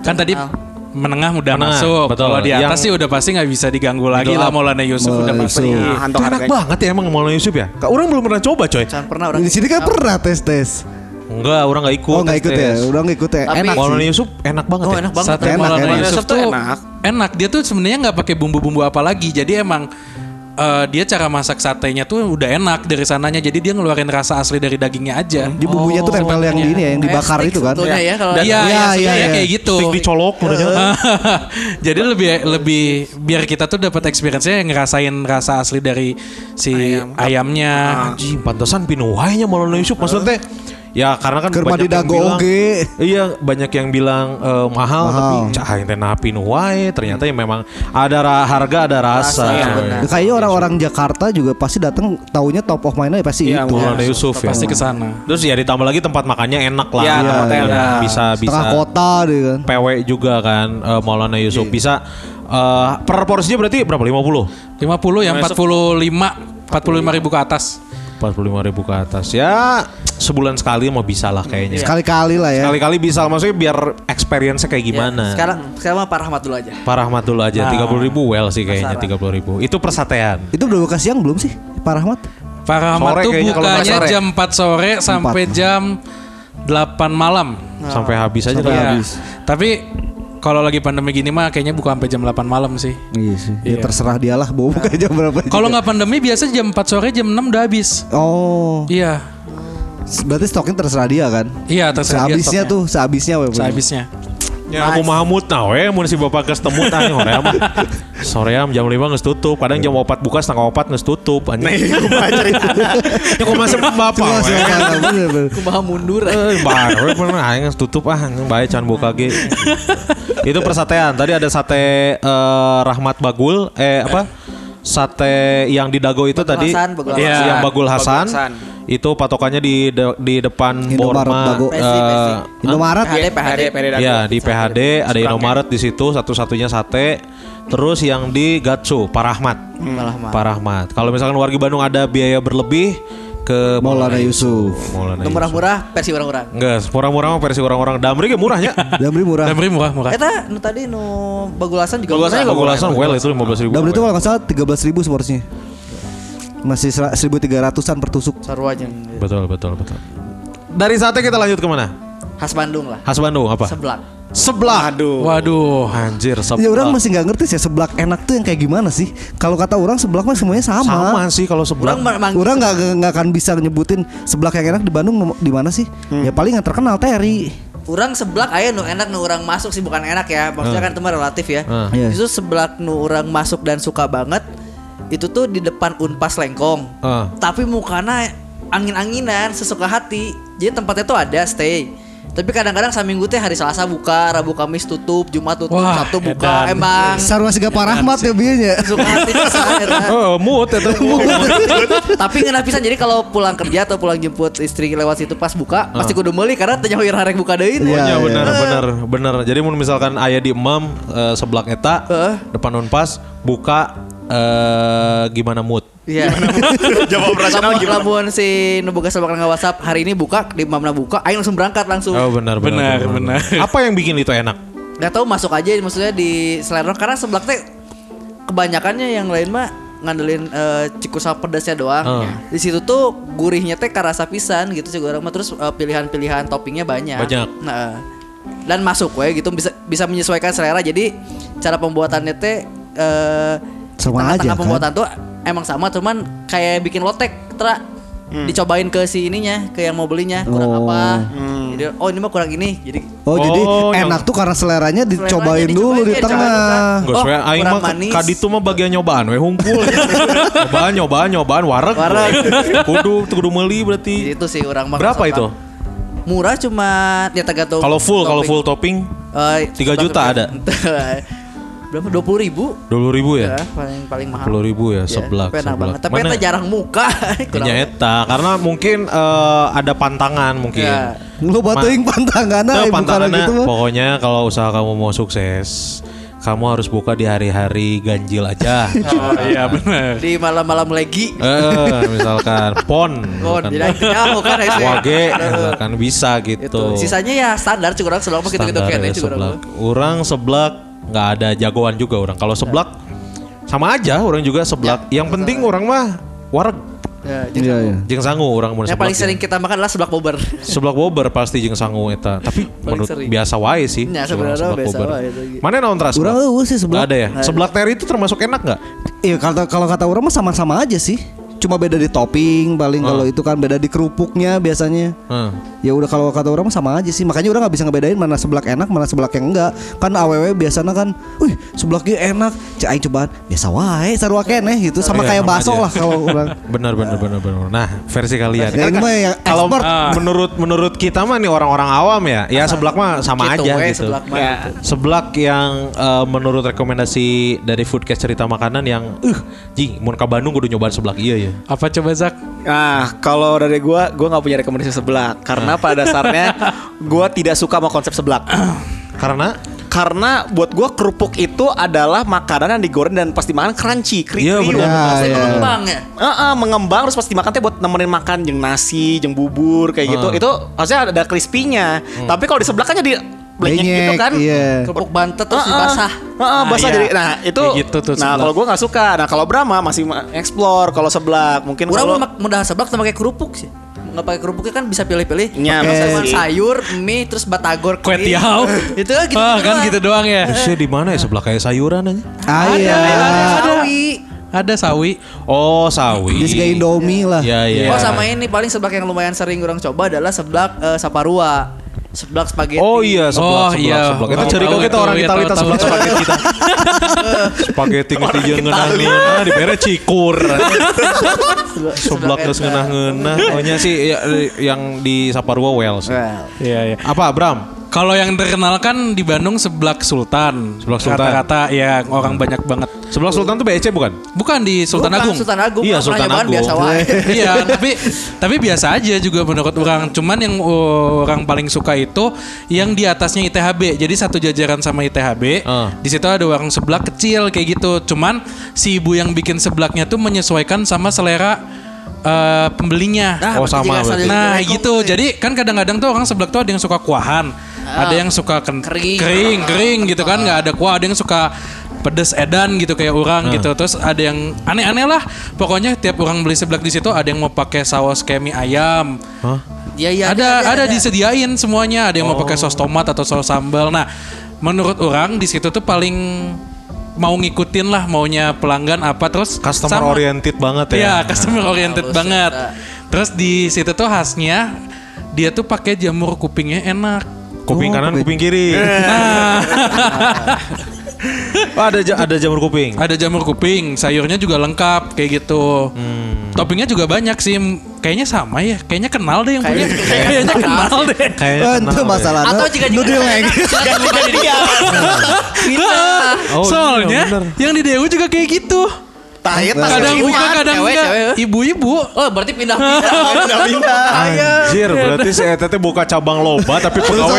kan tadi
Ah.
menengah udah
Menengah,
masuk.
betul.
Kalau di atas
Yang-
sih udah pasti nggak bisa diganggu lagi
Middle
lah
up.
Maulana Yusuf udah pasti.
Yusuf.
Nah,
Itu
untuk
enak
harganya.
banget ya emang Maulana Yusuf ya. Kak, orang belum pernah coba coy.
Jangan pernah orang.
Di sini kan pernah tes-tes.
Enggak, orang nggak ikut.
Oh nggak ikut ya,
tes.
udah nggak ikut ya.
Tapi-
Enak
Maulana
sih.
Yusuf enak banget.
Oh,
ya.
enak banget.
Sate
Enak, enak.
Maulana Yusuf
Maulana Yusuf
tuh
tuh
enak.
enak.
Dia tuh sebenarnya nggak pakai bumbu-bumbu apa lagi. Jadi emang eh, dia cara masak satenya tuh udah enak dari sananya. Jadi dia ngeluarin rasa asli dari dagingnya aja.
Di bumbunya
Oh,
tuh tempel yang di ini ya, yang dibakar
Kayak
itu kan.
stick sebetulnya ya kalau
Dan- Iya,
Iya,
iya,
iya,
sebenarnya
iya.
kayak gitu.
Stik dicolok udah nyala.
(laughs) Jadi lebih lebih biar kita tuh dapat experience-nya yang ngerasain rasa asli dari si ayamnya.
Ah. Anjing, pantesan pinuhainya Maulana Yusuf maksudnya Ya karena kan
Keur mandi dago
bilang
oge.
Iya banyak yang bilang eh, mahal, tapi cah ente napi nu wae ternyata ya memang ada ra- harga ada rasa.
ya,
Rasa, benar.
Iya.
Kayaknya orang-orang Jakarta juga pasti datang taunya top of mind-nya ya pasti
Iya,
itu.
Maulana Yusuf ya.
pasti ke sana.
Terus ya ditambah lagi tempat makannya enak lah.
Iya,
Iya,
tempatnya
iya.
enak.
Bisa bisa
Setengah kota deh kan.
PW juga kan eh, Maulana Yusuf bisa eh, per porsinya berarti berapa 50?
50 yang 45 45 ribu ke atas.
45 ribu ke atas ya sebulan sekali mau bisa lah
Iya.
kayaknya
Sekali-kali lah ya.
sekali-kali bisa maksudnya biar experience-nya kayak gimana
Sekarang sekarang mah Pak Rahmat dulu aja.
Pak Rahmat dulu aja, tiga puluh ribu well sih kayaknya
Pasaran.
tiga puluh ribu. Itu persatean.
Itu udah buka siang belum sih Pak Rahmat?
Pak
Sore
Rahmat tuh
kayaknya kalau nggak
bukanya
sore.
jam 4 sore sampai jam 8 malam.
Sampai habis aja
Iya.
kan.
Tapi kalau lagi pandemi gini mah kayaknya buka sampai jam 8 malam sih.
Iya sih. Ya terserah dialah mau buka jam berapa. juga.
Kalau nggak pandemi biasa jam 4 sore jam 6 udah habis.
Oh,
Iya.
berarti stoknya terserah dia kan?
Iya, terserah dia
Sehabisnya
stoknya.
tuh, sehabisnya we. punya.
Sehabisnya.
Ya aku Mahmud nah we mun si bapak geus temu tanya hoream. Soream jam 5 geus tutup, kadang jam 4 buka setengah 4 geus tutup anjing. (laughs) Ya kok masih bapak.
Cuma
we.
ya?
sementara, bener, bener.
Kumaha mundur.
Eh, baru we pernah aing geus tutup ah anjing bae can buka ge. Itu persatean. Tadi ada sate eh, Rahmat Bagul eh apa? Sate yang di Dago itu tadi
Hasan, Bagul
Iya,
Hasan.
yang Bagul Hasan,
Bagul Hasan.
itu patokannya di de- di depan
Indomaret
Borma
Dago.
eh,
Pesi, pesi.
Indomaret
PHD PHD.
Iya di PHD ada Indomaret di situ satu-satunya sate. Terus yang di Gatsu Pak Rahmat.
Hmm, Pak Rahmat.
Pak Rahmat. Kalau misalkan warga Bandung ada biaya berlebih ke
Maulana Yusuf.
Maulana Yusuf.
Yang murah-murah versi orang-orang.
Enggak, murah-murah mah versi orang-orang Damri ge murahnya.
Damri murah.
Damri murah-murah.
Eta nu tadi nu bagulasan juga murah.
Bagulasan well itu 15 ribu. ya?
Damri itu Nah, kalau nggak salah 13.000 ribu seporsinya. Masih 1.300an per tusuk.
Sarua aja.
Betul, betul, betul. Dari sate kita lanjut kemana?
Khas Bandung lah.
Khas Bandung apa?
Seblak.
Seblak. Aduh.
Waduh.
Anjir, seblak.
Ya orang masih nggak ngerti sih seblak enak tuh yang kayak gimana sih? Kalau kata orang seblak mah semuanya
sama gitu.
sama.
sih kalau seblak.
Orang ma- manggil
Orang nggak nggak akan bisa nyebutin seblak yang enak di Bandung ngom- di mana sih?
Hmm.
Ya paling yang terkenal Terry.
Urang seblak aya nu enak nu urang masuk sih bukan enak ya. Maksudnya kan teman relatif ya.
Hmm.
Iya.
Justru seblak nu urang masuk dan suka banget itu tuh di depan Unpas Lengkong.
Ah.
Tapi mukana angin-anginan sesuka hati. Jadi tempatnya tuh ada stay. Tapi kadang-kadang saminggu teh hari Selasa buka, Rabu Kamis tutup, Jumat tutup,
Wah,
Sabtu buka.
edan.
Emang
Sarwa Siga Pak Rahmat ya biasanya.
suka hati pisan, eta.
Oh, mood itu.
Tapi ngena pisan jadi kalau pulang kerja atau pulang jemput istri lewat situ pas buka
Ah.
pasti kudu meuli karena tanya hoyer harek buka deui.
Ya,
Iya.
benar benar benar. Jadi mun misalkan ayah di emam eh, seblak eta
Heeh.
depan unpas buka eh gimana mood?
Iya. (laughs)
Jawab operasional
Lamun,
gimana?
lamun si nuboga sama nggak WhatsApp hari ini buka di mamna buka, aing langsung berangkat langsung.
Oh benar benar.
Benar, benar.
Apa yang bikin itu enak?
Gak tahu masuk aja maksudnya di selera karena seblak teh kebanyakannya yang lain mah ngandelin eh, ciku sama pedasnya doang.
Hmm.
Di situ tuh gurihnya teh karasa pisan gitu sih orang mah terus eh, pilihan-pilihan toppingnya banyak.
Banyak.
Nah, eh. dan masuk we gitu bisa bisa menyesuaikan selera. Jadi cara pembuatannya teh eh
Sama
tengah-tengah
aja, kan?
pembuatan tuh emang sama cuman kayak bikin lotek tra dicobain ke si ininya ke yang mau belinya kurang
Oh.
apa. Jadi oh ini mah kurang ini. Jadi
Oh, jadi
Oh, yang-
enak tuh karena seleranya dicobain
Seleranya
dulu
dicobain,
di
ya,
tengah.
jangan lupa.
Enggak
Oh,
oh, aing
kurang
mah
manis.
kaditu mah bagian nyobaan we
(laughs)
hungkul. nyobaan nyobaan nyobaan wareg.
Wareg.
kudu kudu meuli
Jadi
berarti.
itu sih orang makan
Berapa
seblak.
itu?
Murah cuma ya tergantung
Kalau full kalau
topping.
full topping
Eh,
3
seblak
juta
lebih.
ada?
(laughs) Berapa? 20 ribu?
20 ribu ya?
paling paling mahal.
20 ribu ya seblak.
tapi enak
seblak.
banget. Tapi
Mana-
itu jarang
(laughs)
muka. Kurang-
Ya, eta. karena mungkin eh, ada pantangan mungkin.
Ya.
Lu batuin pantangan
Nah,
aja bukan
pantangannya,
gitu mah.
pokoknya kalau usaha kamu mau sukses, kamu harus buka di hari-hari ganjil
(laughs)
aja.
Oh, iya benar.
Di malam-malam legi.
Eh, misalkan pon,
Oh,
misalkan
jadi jauh
(laughs)
kan ya, saya. (laughs)
wage, kan. misalkan bisa
Itu.
gitu.
Sisanya ya standar cukup orang selama kita gitu
Standar
kayaknya
ya,
cukup orang.
seblak. Orang seblak nggak ada jagoan juga orang. Kalau seblak sama aja orang juga seblak. Yang penting orang mah wareg
Ya, jadi-
Iya, iya.
jeung sangu orang mau seblak.
Yang Ya,
ya.
paling sering kita makan adalah seblak bober.
Seblak bober pasti jeung sangu eta. Tapi menurut
sering.
biasa wae sih.
Ya,
seorang
sebenarnya biasa wae itu.
Mana naon teras?
Orang eueuh sih
Nggak
seblak.
ada ya. Seblak teri itu termasuk enak nggak?
Iya, kalau kalau kata orang mah sama-sama aja sih. cuma beda di topping paling kalau
Oh.
itu kan beda di kerupuknya biasanya.
Heeh.
Ya udah kalau kata orang mah sama aja sih. Makanya orang nggak bisa ngebedain mana seblak enak, mana seblak yang enggak. Kan aww biasanya kan, wih seblaknya enak. Cek aing cobaan, biasa wae sarua keneh gitu. Sama
Iya,
kayak
sama
bakso
aja.
lah
(laughs)
kalau orang.
Benar benar benar benar. Nah, versi kalian.
Ya, ini mah yang
Kalau ah,
expert.
Ah.
menurut menurut kita mah nih orang-orang awam ya, ya seblak mah sama
Gitu
aja
eh,
we,
gitu.
seblak mah
Ya.
gitu.
Seblak yang eh, menurut rekomendasi dari Foodcast cerita makanan yang eh jing mun ka Bandung kudu nyobain seblak iya ya.
Apa coba Zak?
Nah, kalau dari gua, gua nggak punya rekomendasi seblak
Ah.
karena pada
(laughs)
dasarnya gua tidak suka sama konsep seblak.
Karena
karena buat gua kerupuk itu adalah makanan yang digoreng dan pas dimakan crunchy, kri
Iya,
kriuk.
benar.
Pasti
iya.
mengembang ya.
Heeh, mengembang terus pas dimakan teh buat nemenin makan jeng nasi, jeng bubur kayak gitu.
Ah.
Itu harusnya ada crispy-nya.
Hmm.
Tapi kalau di sebelah kan jadi blenyek gitu
Benyek,
kan.
Iya.
Kerupuk bantet
Ah,
terus
Heeh.
dibasah.
Heeh, basah
iya.
jadi nah itu
Kayak gitu tuh
nah
seblak.
kalau gua nggak suka nah kalau Brahma masih ma- explore kalau seblak mungkin
Orang
(laughs) kalau
mah mak- mudah seblak sama pakai kerupuk sih. Nggak pakai kerupuknya kan bisa pilih-pilih.
Iya,
Pakai
bisa
sama
sih.
sayur, mie, terus batagor,
Kue
kering.
tiaw.
(laughs) Itu kan gitu.
Ah, kan gitu doang ya.
Terusnya di mana ya seblak kayak sayuran aja?
Ah, iya.
Sawi.
Ada sawi.
Oh, sawi.
Jadi kayak Indomie lah.
Iya iya.
Oh sama
ya,
ini paling seblak yang lumayan sering orang coba adalah seblak eh, saparua. Seblak spaghetti.
Oh
(laughs)
iya seblak
Oh,
seblak
iya.
seblak. Itu
Tahu,
cerita
tahu,
kita
tahu,
orang
iya,
Itali
tahu,
kita
tahu.
seblak spaghetti kita.
(laughs)
Spaghetti ngerti jeung ngeunah nah dibere
(laughs)
cikur. Seblak geus (laughs) ngeunah-ngeunah. Oh nya sih ya, yang di Saparua Wales.
Iya, iya.
Apa Bram?
Kalau yang terkenal kan di Bandung seblak Sultan.
Seblak Sultan. Iya.
Rata-rata ya orang banyak banget.
Sebelah Sultan tuh BEC bukan?
Bukan di Sultan
Bukan,
Agung.
Sultan Agung.
Iya,
Orang
Sultan
nyobain
Agung.
Biasa wae.
(laughs) iya, tapi tapi biasa aja juga menurut orang. Cuman yang uh, orang paling suka itu yang di atasnya ITHB. Jadi satu jajaran sama ITHB.
Ah.
Di situ ada orang seblak kecil kayak gitu. Cuman si ibu yang bikin seblaknya tuh menyesuaikan sama selera uh, pembelinya.
Nah,
Oh,
berarti
sama
jika
berarti.
sambil
Nah
direkom
gitu,
tuh.
jadi kan kadang-kadang tuh orang seblak tuh ada yang suka kuahan, ada yang suka ken-
Kering.
Ah, kering, kering gitu kan, nggak ada kuah, ada yang suka pedes edan gitu kayak
Ah.
orang gitu, terus ada yang aneh-aneh lah, pokoknya tiap orang beli seblak di situ ada yang mau pakai saus kemi ayam,
Hah?
(laughs) Iya, iya,
ada, ada, disediain semuanya, ada yang mau pakai saus
Oh.
tomat atau saus sambal. Nah, menurut orang di situ tuh paling mau ngikutin lah maunya pelanggan apa terus
Customer
sama-
oriented banget ya.
Iya, customer oriented
Halus,
banget.
ya.
Terus di situ tuh khasnya dia tuh pakai jamur kupingnya enak.
Kuping
Oh,
kanan, kuping
kuping-
kiri. (laughs) Oh, ada ja- ada jamur kuping.
Ada jamur kuping, sayurnya juga lengkap kayak gitu.
Hmm.
Toppingnya juga banyak sih. Kayaknya sama ya. Kayaknya kenal deh yang punya.
Kayaknya-
(laughs) Kayaknya kenal deh.
Kayaknya
Eh,
iya, kenal
Itu
deh.
masalahnya.
Atau jika jika
Nudel
(laughs)
lagi.
(laughs)
Oh, iya,
Soalnya
bener. Nah.
yang di Dewi juga kayak gitu.
Tayet tas
Kadang
kiriman,
buka, kadang
cewek,
enggak.
cewek.
Ibu-ibu.
Oh berarti pindah-pindah.
(laughs)
Udah pindah.
Anjir, berarti si Eta teh buka cabang loba (laughs) tapi pegawai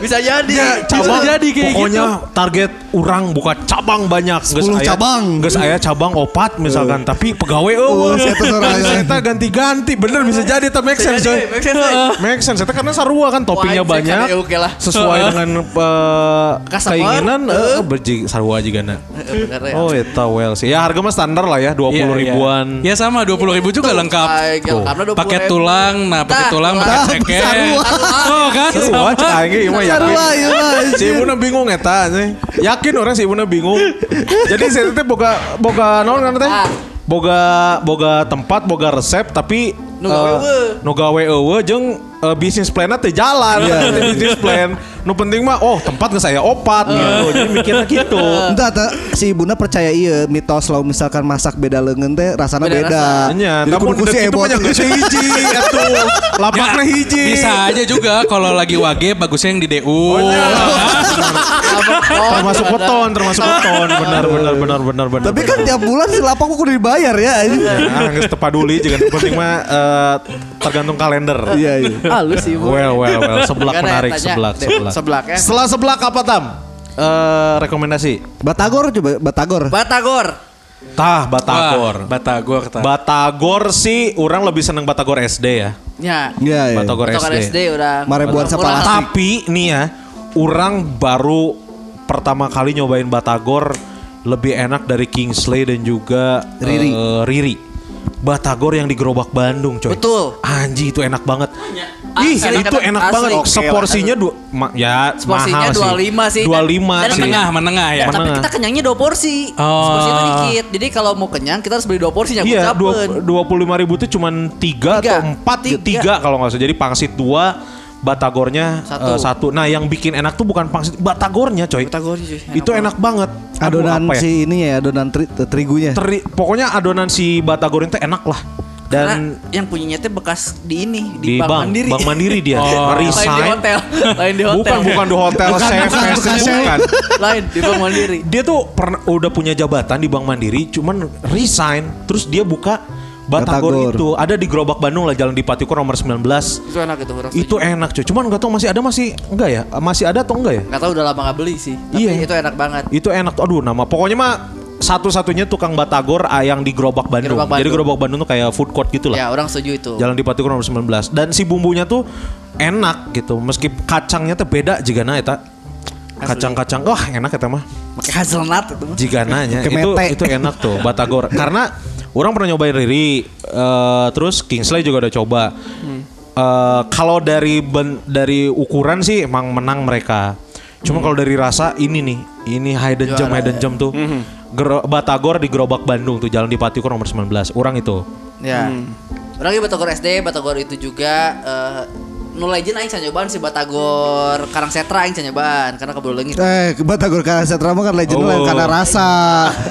Bisa jadi.
Bisa jadi kayak
Pokoknya target orang buka cabang banyak. Geus
10
aya-
cabang.
Geus aya cabang opat misalkan, tapi pegawai eueuh.
Oh, si Eta soraya.
Si Eta ganti-ganti, bener bisa jadi eta make sense coy.
jadi, make sense, coy.
(laughs) Make sense, Eta karena sarua kan toppingnya
Wah, anjir,
banyak.
kan, eh, oke lah.
Sesuai dengan eh,
Customer,
keinginan
eh.
eh, berji- sarua jigana.
Bener ya.
Oh, Eta well sih. Ya harga mah standar lah ya, 20
Iya, iya.
ribuan.
Ya sama 20 ribu juga lengkap.
Ay, gel,
Tuh.
karena 20
pakai
ribu.
tulang, nah pakai
Tah,
tulang, pakai
tulang.
ceket.
Sarua.
Oh kan?
Sarua
sama.
cah aing mah yakin.
Sarua, iya mah, anjir.
Si ibuna bingung eta sih. Yakin orang si ibuna bingung. Jadi si Eta teh boga boga naon kan teh?
Ah.
Boga boga tempat, boga resep tapi
Nu
eh,
gawe eueuh.
nu gawe eueuh jeung eh, bisnis plan teh jalan. bisnis plan. Nu penting mah oh tempat geus saya opat gitu. Jadi mikirnya gitu.
Entah ta, si ibuna percaya iya mitos lah misalkan masak beda leungeun teh rasana
Beda
beda.
Nya,
Jadi
namun
kudu si
dek Iya, itu
ebot.
mah yang geus hiji atuh. Lapakna hiji.
Bisa aja juga kalau lagi wage bagusnya yang di DU.
Oh,
termasuk weton, termasuk weton. Benar benar benar benar benar.
Tapi kan
benar.
tiap bulan si lapak mah kudu dibayar ya. anjing.
Nah, nggak setepaduli juga yang penting mah eh, tergantung kalender.
Iya iya.
Halus sih bu.
Well, well, well. Seblak
Gimana ya,
menarik,
tanya?
seblak,
Dek,
seblak.
seblak ya.
Setelah seblak apa tam? Eh, rekomendasi.
Batagor coba Batagor.
Batagor.
Tah
Batagor.
Batagor.
Batagor. tah.
Batagor sih, orang lebih seneng Batagor SD ya.
Ya.
Iya iya.
Batagor
Batagor
SD.
SD udah.
Marebuan
Murah-murah.
sepalas.
Tapi nih ya, orang baru pertama kali nyobain Batagor lebih enak dari Kingsley dan juga
Riri.
eh, Riri. Batagor yang di Gerobak Bandung, coy.
Betul.
Anji itu enak banget. Ih,
Asli,
itu
kadang-
enak
asli.
banget.
Oke lah.
Seporsinya dua ma- ya
Seporsinya
mahal
25 sih.
25
Dan- dan
sih.
Menengah, menengah ya.
Menengah.
Tapi kita kenyangnya dua porsi.
Oh.
Porsi itu dikit. Jadi kalau mau kenyang kita harus beli dua porsi yang
Iya,
kucapeun.
dua puluh lima ribu itu cuman tiga,
Eh, Tiga.
atau empat, ya, tiga,
Tiga.
kalau nggak salah. Jadi pangsit dua, batagornya eh,
Satu.
satu. Nah, yang bikin enak tuh bukan pangsit, batagornya, coy.
Batagornya, coy. Enak
itu enak banget. Aduh,
Adonan
apa ya?
si ini ya, adonan tri- terigunya.
Teri- pokoknya adonan si batagor itu enak lah. Dan
Karena yang punyanya teh bekas di ini
di bank, bank mandiri, dia,
(laughs)
Oh.
Lain di
resign. (laughs)
hotel, lain di hotel.
Bukan, bukan di hotel, CFS itu bukan.
(laughs) lain di bank mandiri.
Dia tuh pernah udah punya jabatan di Bank Mandiri, cuman resign, terus dia buka
Batagor.
Batagor, itu ada di Gerobak Bandung lah Jalan Dipatikur nomor 19.
Itu enak itu kurang
Itu enak cuy. Cuman nggak tahu masih ada masih enggak ya? Masih ada atau enggak ya?
Gak tau udah lama gak beli sih Tapi
Iya.
itu enak banget
Itu enak tuh. Aduh nama. Pokoknya mah satu-satunya tukang Batagor ah, yang di Gerobak Bandung.
Gerobak Bandung.
Jadi Gerobak Bandung tuh kayak food court gitu lah.
Ya orang setuju itu
Jalan Dipatikur nomor 19. Dan si bumbunya tuh enak gitu. Meski kacangnya tuh beda jika na eta. Kacang-kacang wah enak eta mah.
Pakai hazelnut itu mah.
Jika nanya
Pakai
itu
mete.
itu enak tuh Batagor karena orang pernah nyobain Riri eh, terus Kingsley juga udah coba. Eh, kalau dari ben- dari ukuran sih emang menang mereka. Cuma kalau dari rasa ini nih, ini Hayden Jam
ya.
Hayden Jam tuh.
Mhm.
Gero- Batagor di Gerobak Bandung tuh Jalan Dipatikur nomor 19. Orang itu.
Ya
Hmm.
Orang lagi Batagor SD Batagor itu juga eh, Nu legend aing can nyobaan si Batagor Karang Setra aing can nyobaan Karena kebulu leungit
Eh, Batagor Karang Setra mah kan legend
Oh.
lain karena
(laughs)
rasa.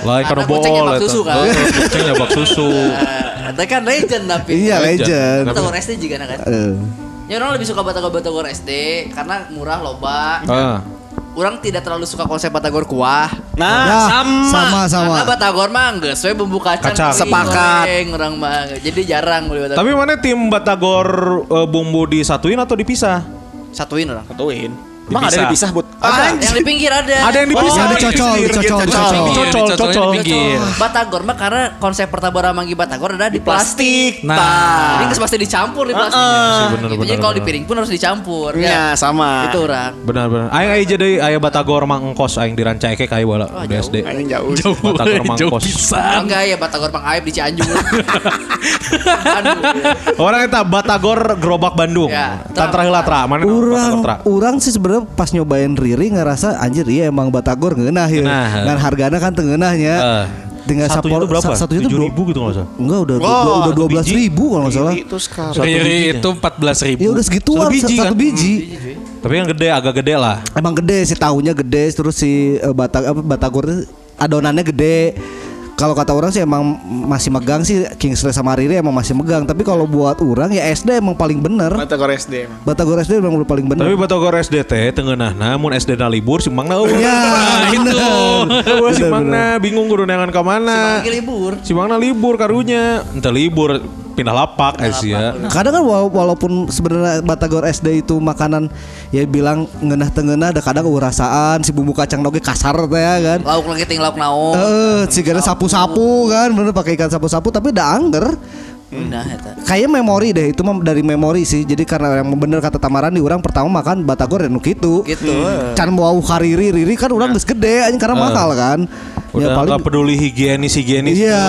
Lain karena
Karena kucing
bol.
nyabak
eta.
susu, kan?
Oh, Kucing nyabak susu.
(laughs) Nah, Itu kan legend tapi
iya, legend.
Batagor SD juga nah kan
Eh,
Ya orang lebih suka Batagor-Batagor SD Karena murah loba
Ah.
Orang tidak terlalu suka konsep Batagor kuah
Nah,
Iya.
ya,
sama.
sama sama.
Karena Batagor mah enggak sesuai bumbu kacang,
Kacang.
kering,
Sepakat.
goreng, orang mah jadi jarang beli Batagor.
Tapi mana tim Batagor eh, bumbu disatuin atau dipisah?
satuin orang.
Satuin. Emang ada
Dipisah.
dipisah Ah, buat
Ada, yang di pinggir ada.
Ada yang dipisah.
Oh, ada cocol, cocol, cocol.
Pinggir,
Cocol,
dicocolnya di
cocol.
pinggir.
Batagor mah karena konsep pertabora manggi Batagor ada di plastik.
plastik. Nah,
Ini nggak pasti dicampur di plastik.
Iya sih, bener,
Gitu, jadi
bener,
kalau di
bener.
piring pun harus dicampur.
Iya, sama.
Itu orang.
Benar benar. Aing aja jadi aya Batagor Mang Engkos aing di Ranca Ekek aya bola
Oh,
di
jauh.
SD.
Anjing Nah, jauh.
Jauh,
Batagor Mang
jauh
Kos.
pisan.
Enggak ya Batagor Bang Aib di Cianjur. Bandung.
Orang eta Batagor Gerobak Bandung.
Ya.
Tantra heula tra. Mana nama
Urang,
Batagor tra?
urang sih sebenarnya pas nyobain Riri ngerasa anjir iya emang Batagor ngeunah ya.
Ngeunah, eh.
Dan harganya kan tengenahnya.
Eh.
Dengan
Satunya
sapor-
itu berapa?
sa- Satunya itu
7.000
dua-
gitu nggak usah.
Enggak udah
Wah,
dua- udah
satu
dua belas
biji.
ribu kalau nggak salah.
Itu sekarang.
Riri Iya, itu 14 ribu.
Ya udah segituan
Satu
satu
biji
biji. Satu
kan?
biji.
Tapi yang gede agak gede lah.
Emang gede sih tahunya gede terus si eh, bata apa batagor adonannya gede. Kalau kata orang sih emang masih megang sih Kingsley sama Riri emang masih megang. Tapi kalau buat orang ya SD emang paling bener.
Mata Korea SD emang.
Batagor SD emang udah paling bener.
Tapi Batagor SD teh tengenah namun SD na libur si Mang na eueuh. (laughs)
Ya,
Nah, itu. Eueuh, Si Mang na bingung kudu neangan ka mana.
Lagi libur.
Si Mang na libur karunya. Ente libur pindah lapak eh sih ya.
Kadang kan wala- walaupun sebenarnya Batagor SD itu makanan ya bilang ngenah tengenah ada kadang urasaan si bumbu kacang noge kasar teh ya kan.
Lauk lagi ting lauk naon.
Eh, sigana sapu-sapu kan bener pakai ikan sapu-sapu tapi udah angger.
Nah, eta.
Kayak memori deh itu mah dari memori sih. Jadi karena yang bener kata Tamaran di orang pertama makan Batagor dan gitu.
Gitu.
Hmm.
Can mau kariri riri kan orang geus gede anjing karena mahal kan.
Ya. Udah nggak peduli higienis higienis. eh,
Iya.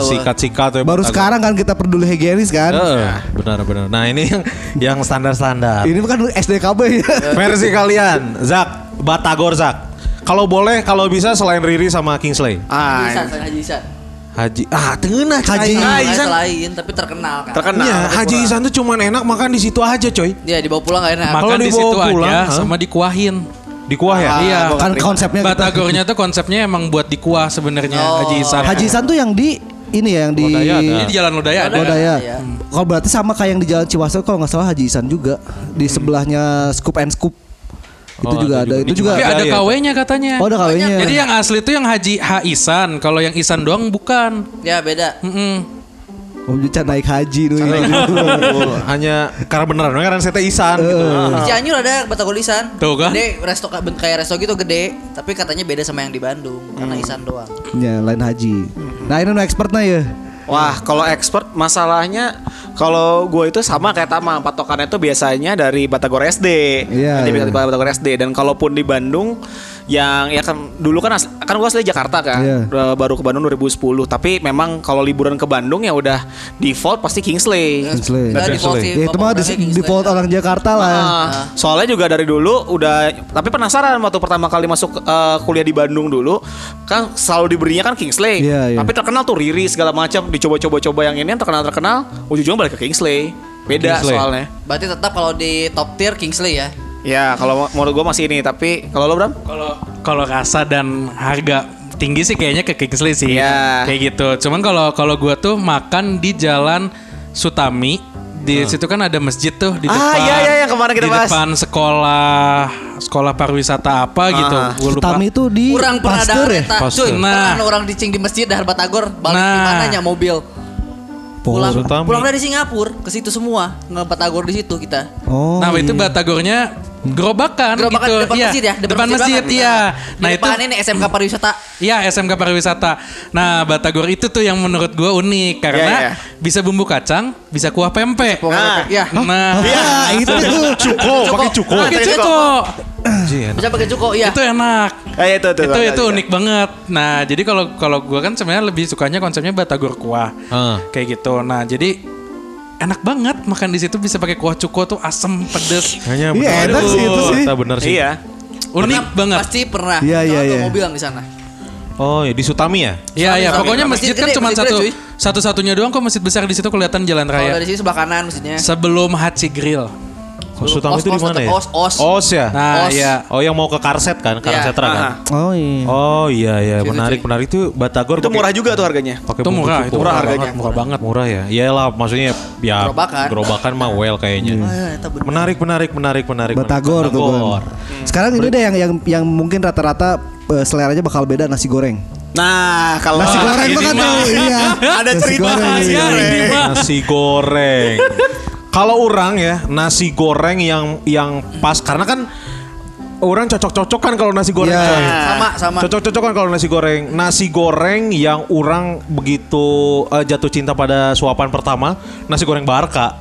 Sikat sikat.
baru sekarang kan kita peduli higienis kan.
Heeh, benar-benar. Nah ini yang yang standar-standar.
Ini kan SDKB ya.
Versi kalian, Zak, Batagor Zak. Kalau boleh, kalau bisa selain Riri sama Kingsley,
Haji
Ah,
Isan, Haji Isan.
Haji. Ah, tengenah
nah, Haji.
Haji.
Lain,
Isan.
lain, tapi terkenal kan.
terkenal.
Iya, Haji Isan tuh cuman enak makan di situ aja, coy.
Iya, dibawa pulang gak enak.
Kalau
Makan di
dibawa
situ
pulang,
aja
hah?
sama dikuahin.
Di kuah ya.
Ah,
Iya.
Kan konsepnya kita-
Batagornya tuh konsepnya emang buat dikuah sebenarnya
Oh.
Haji Isan.
Haji Isan tuh yang di ini ya yang di
Lodaya ada.
Ini di Jalan Lodaya ada. ya.
Lodaya.
Iya.
Kalau berarti sama kayak yang di Jalan Ciwasel kalau nggak salah Haji Isan juga di sebelahnya Scoop and Scoop itu
Oh,
juga
ada
ada
juga.
itu juga.
Tapi
Ada
ada
ya.
KW-nya katanya.
Oh, ada KW-nya.
Jadi yang asli tuh yang Haji H Isan, kalau yang Isan doang bukan.
Ya, beda.
Mm-mm.
Oh, dia naik haji ya. dulu. (laughs)
Betul, Hanya karena beneran, karena saya teh Isan gitu.
Eh,
Di Cianjur ada batagor isan.
Tuh kan.
Gede, resto ben- kayak resto gitu gede, tapi katanya beda sama yang di Bandung karena isan doang.
ya, lain haji. Nah, ini no expertnya ya.
Wah, kalau expert masalahnya kalau gue itu sama kayak Tama, patokannya itu biasanya dari Batagor SD.
Iya,
Dari
iya.
Batagor SD dan kalaupun di Bandung yang ya kan dulu kan as- kan gue asli Jakarta kan
Iya.
Udah baru ke Bandung 2010 tapi memang kalau liburan ke Bandung ya udah default pasti Kingsley.
Kingsley.
Nggak default
Iya,
sih,
Ya itu mah di,
pokoknya
gitu
Kingsley.
default orang Jakarta lah. ya.
Ah,
Nah.
soalnya juga dari dulu udah tapi penasaran waktu pertama kali masuk eh, kuliah di Bandung dulu kan selalu diberinya kan Kingsley.
Iya, iya.
Tapi terkenal tuh Riri segala macam dicoba-coba-coba yang ini yang terkenal-terkenal ujung-ujungnya balik ke Kingsley. Beda
Kingsley.
soalnya.
Berarti tetap kalau di top tier Kingsley ya.
Ya, kalau menurut gua masih ini, tapi kalau lo Bram?
Kalau kalau rasa dan harga tinggi sih kayaknya ke Kingsley sih.
Iya.
Kayak gitu. Cuman kalau kalau gua tuh makan di Jalan Sutami di situ kan ada masjid tuh di
Ah,
depan.
iya, iya, yang kemarin kita
di
bahas.
depan sekolah sekolah pariwisata apa gitu. Gua lupa.
Tami itu di
Kurang pernah ada
Pasteur ya.
kereta.
Pasteur.
Cuy,
Nah.
pernah ada orang dicing di masjid dahar batagor balik
Nah.
gimana nya mobil. Pulang,
Sutami.
pulang dari Singapura ke situ semua nggak batagor di situ kita.
Oh.
nah, itu
iya.
batagornya gerobakan,
Gerobakan
gitu.
depan
Iya,
masjid ya,
depan, masjid,
banget.
iya.
Di
Nah, itu
depan ini SMK pariwisata.
Iya SMK pariwisata. Nah Batagor itu tuh yang menurut gua unik karena
Iya, iya.
bisa bumbu kacang, bisa kuah pempek.
Nah.
Ya.
Nah,
Iya,
(laughs)
itu Ah, tuh.
Cuko, pakai cuko.
Nah, itu, itu,
Bisa pakai cuko ya.
itu enak.
Eh, itu, itu,
Itu itu unik banget. Nah, jadi kalau kalau gua kan sebenarnya lebih sukanya konsepnya batagor kuah.
Ah.
Kayak gitu. Nah, jadi enak banget makan di situ bisa pakai kuah cuko tuh asem, pedes.
Kayaknya
Iya,
bener.
enak sih itu sih.
Kata bener sih.
Iya.
unik banget.
Pasti pernah.
Iya,
Soalnya
iya,
ada
iya.
mobil yang di sana.
Oh, ya, di Sutami ya?
Iya,
Sami,
iya.
sami.
Pokoknya
Masjid
masjid kan
gede,
cuma
masjid gede,
satu
cuy.
satu-satunya doang kok masjid besar di situ kelihatan jalan
Kalau
raya.
dari sini sebelah kanan maksudnya.
Sebelum Haji Grill.
Oh, Sutami
Os,
itu di
os,
mana ya?
tetep os, os.
Os ya?
Nah,
Os.
iya.
Oh, yang mau ke Karset kan, Karsetra kan?
Aha.
Oh iya.
Oh iya iya
Situ,
menarik
cuy.
menarik tuh Batagor
Itu
pakai-
murah juga tuh harganya.
pakai
Itu
bumbu
murah,
cuko.
itu murah
harganya.
banget, murah banget murah ya iyalah maksudnya ya
Gerobakan. Hmm.
gerobakan mah well kayaknya
Eh,
menarik menarik menarik menarik
Batagor tuh
Batagor.
Bang. Sekarang ini deh yang yang yang mungkin rata-rata eh, seleranya bakal beda nasi goreng.
Nah, kalau
Nasi goreng
ini
tuh kan
mah-
tuh,
(laughs)
iya.
Ada
Nasi
cerita
goreng.
nasi
Iya,
goreng.
ini mah.
nasi goreng kalau orang ya nasi goreng yang yang pas karena kan orang cocok-cocokan kalau nasi goreng
Iya.
coy.
Sama sama.
Cocok-cocokan kalau nasi goreng. Nasi goreng yang orang begitu eh, jatuh cinta pada suapan pertama, nasi goreng Barka.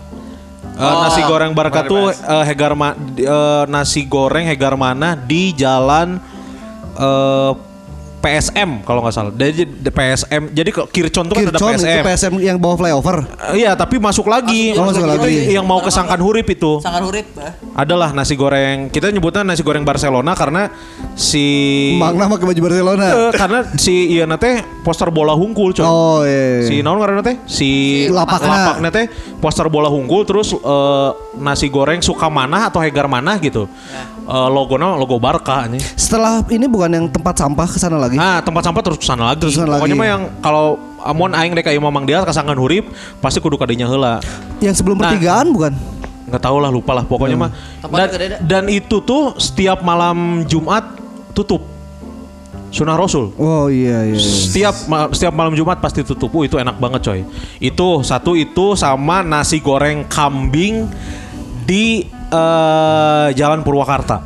Eh,
Oh,
nasi goreng Barka tuh eh, Hegar Ma- di- eh, nasi goreng Hegar Mana di jalan eh, PSM kalau nggak salah. Jadi di PSM. Jadi ke Kircon tuh kan ada
Kircon itu
PSM.
PSM yang bawa flyover.
Eh, Iya, tapi masuk lagi.
Oh, masuk lagi.
Yang mau ke Sangkan Hurip itu
Sangat hurip. ah.
adalah nasi goreng. Kita nyebutnya nasi goreng Barcelona karena si
Mang nama ke baju Barcelona.
Eh, karena si iya teh poster bola hungkul coy.
Oh iya.
Si naon karena teh si
Si lapakna.
lapakna teh poster bola hungkul terus eh, nasi goreng suka mana atau hegar mana gitu. Eh, logona logo Barca nih.
Setelah ini bukan yang tempat sampah ke sana lagi.
Nah, tempat sampah terus kesana lagi.
Terus kesana
Pokoknya
lagi.
mah yang kalau amon aing dek ayeuna Mamang Dias kasangan hurip pasti kudu kadinya heula.
Yang sebelum
Nah.
pertigaan bukan?
nggak tahu lah lupa lah pokoknya mah
Tempatnya
dan,
gede dah.
dan itu tuh setiap malam Jumat tutup Sunnah Rasul
Oh iya iya.
setiap ma- setiap malam Jumat pasti tutup Uh, itu enak banget coy itu satu itu sama nasi goreng kambing di eh, Jalan Purwakarta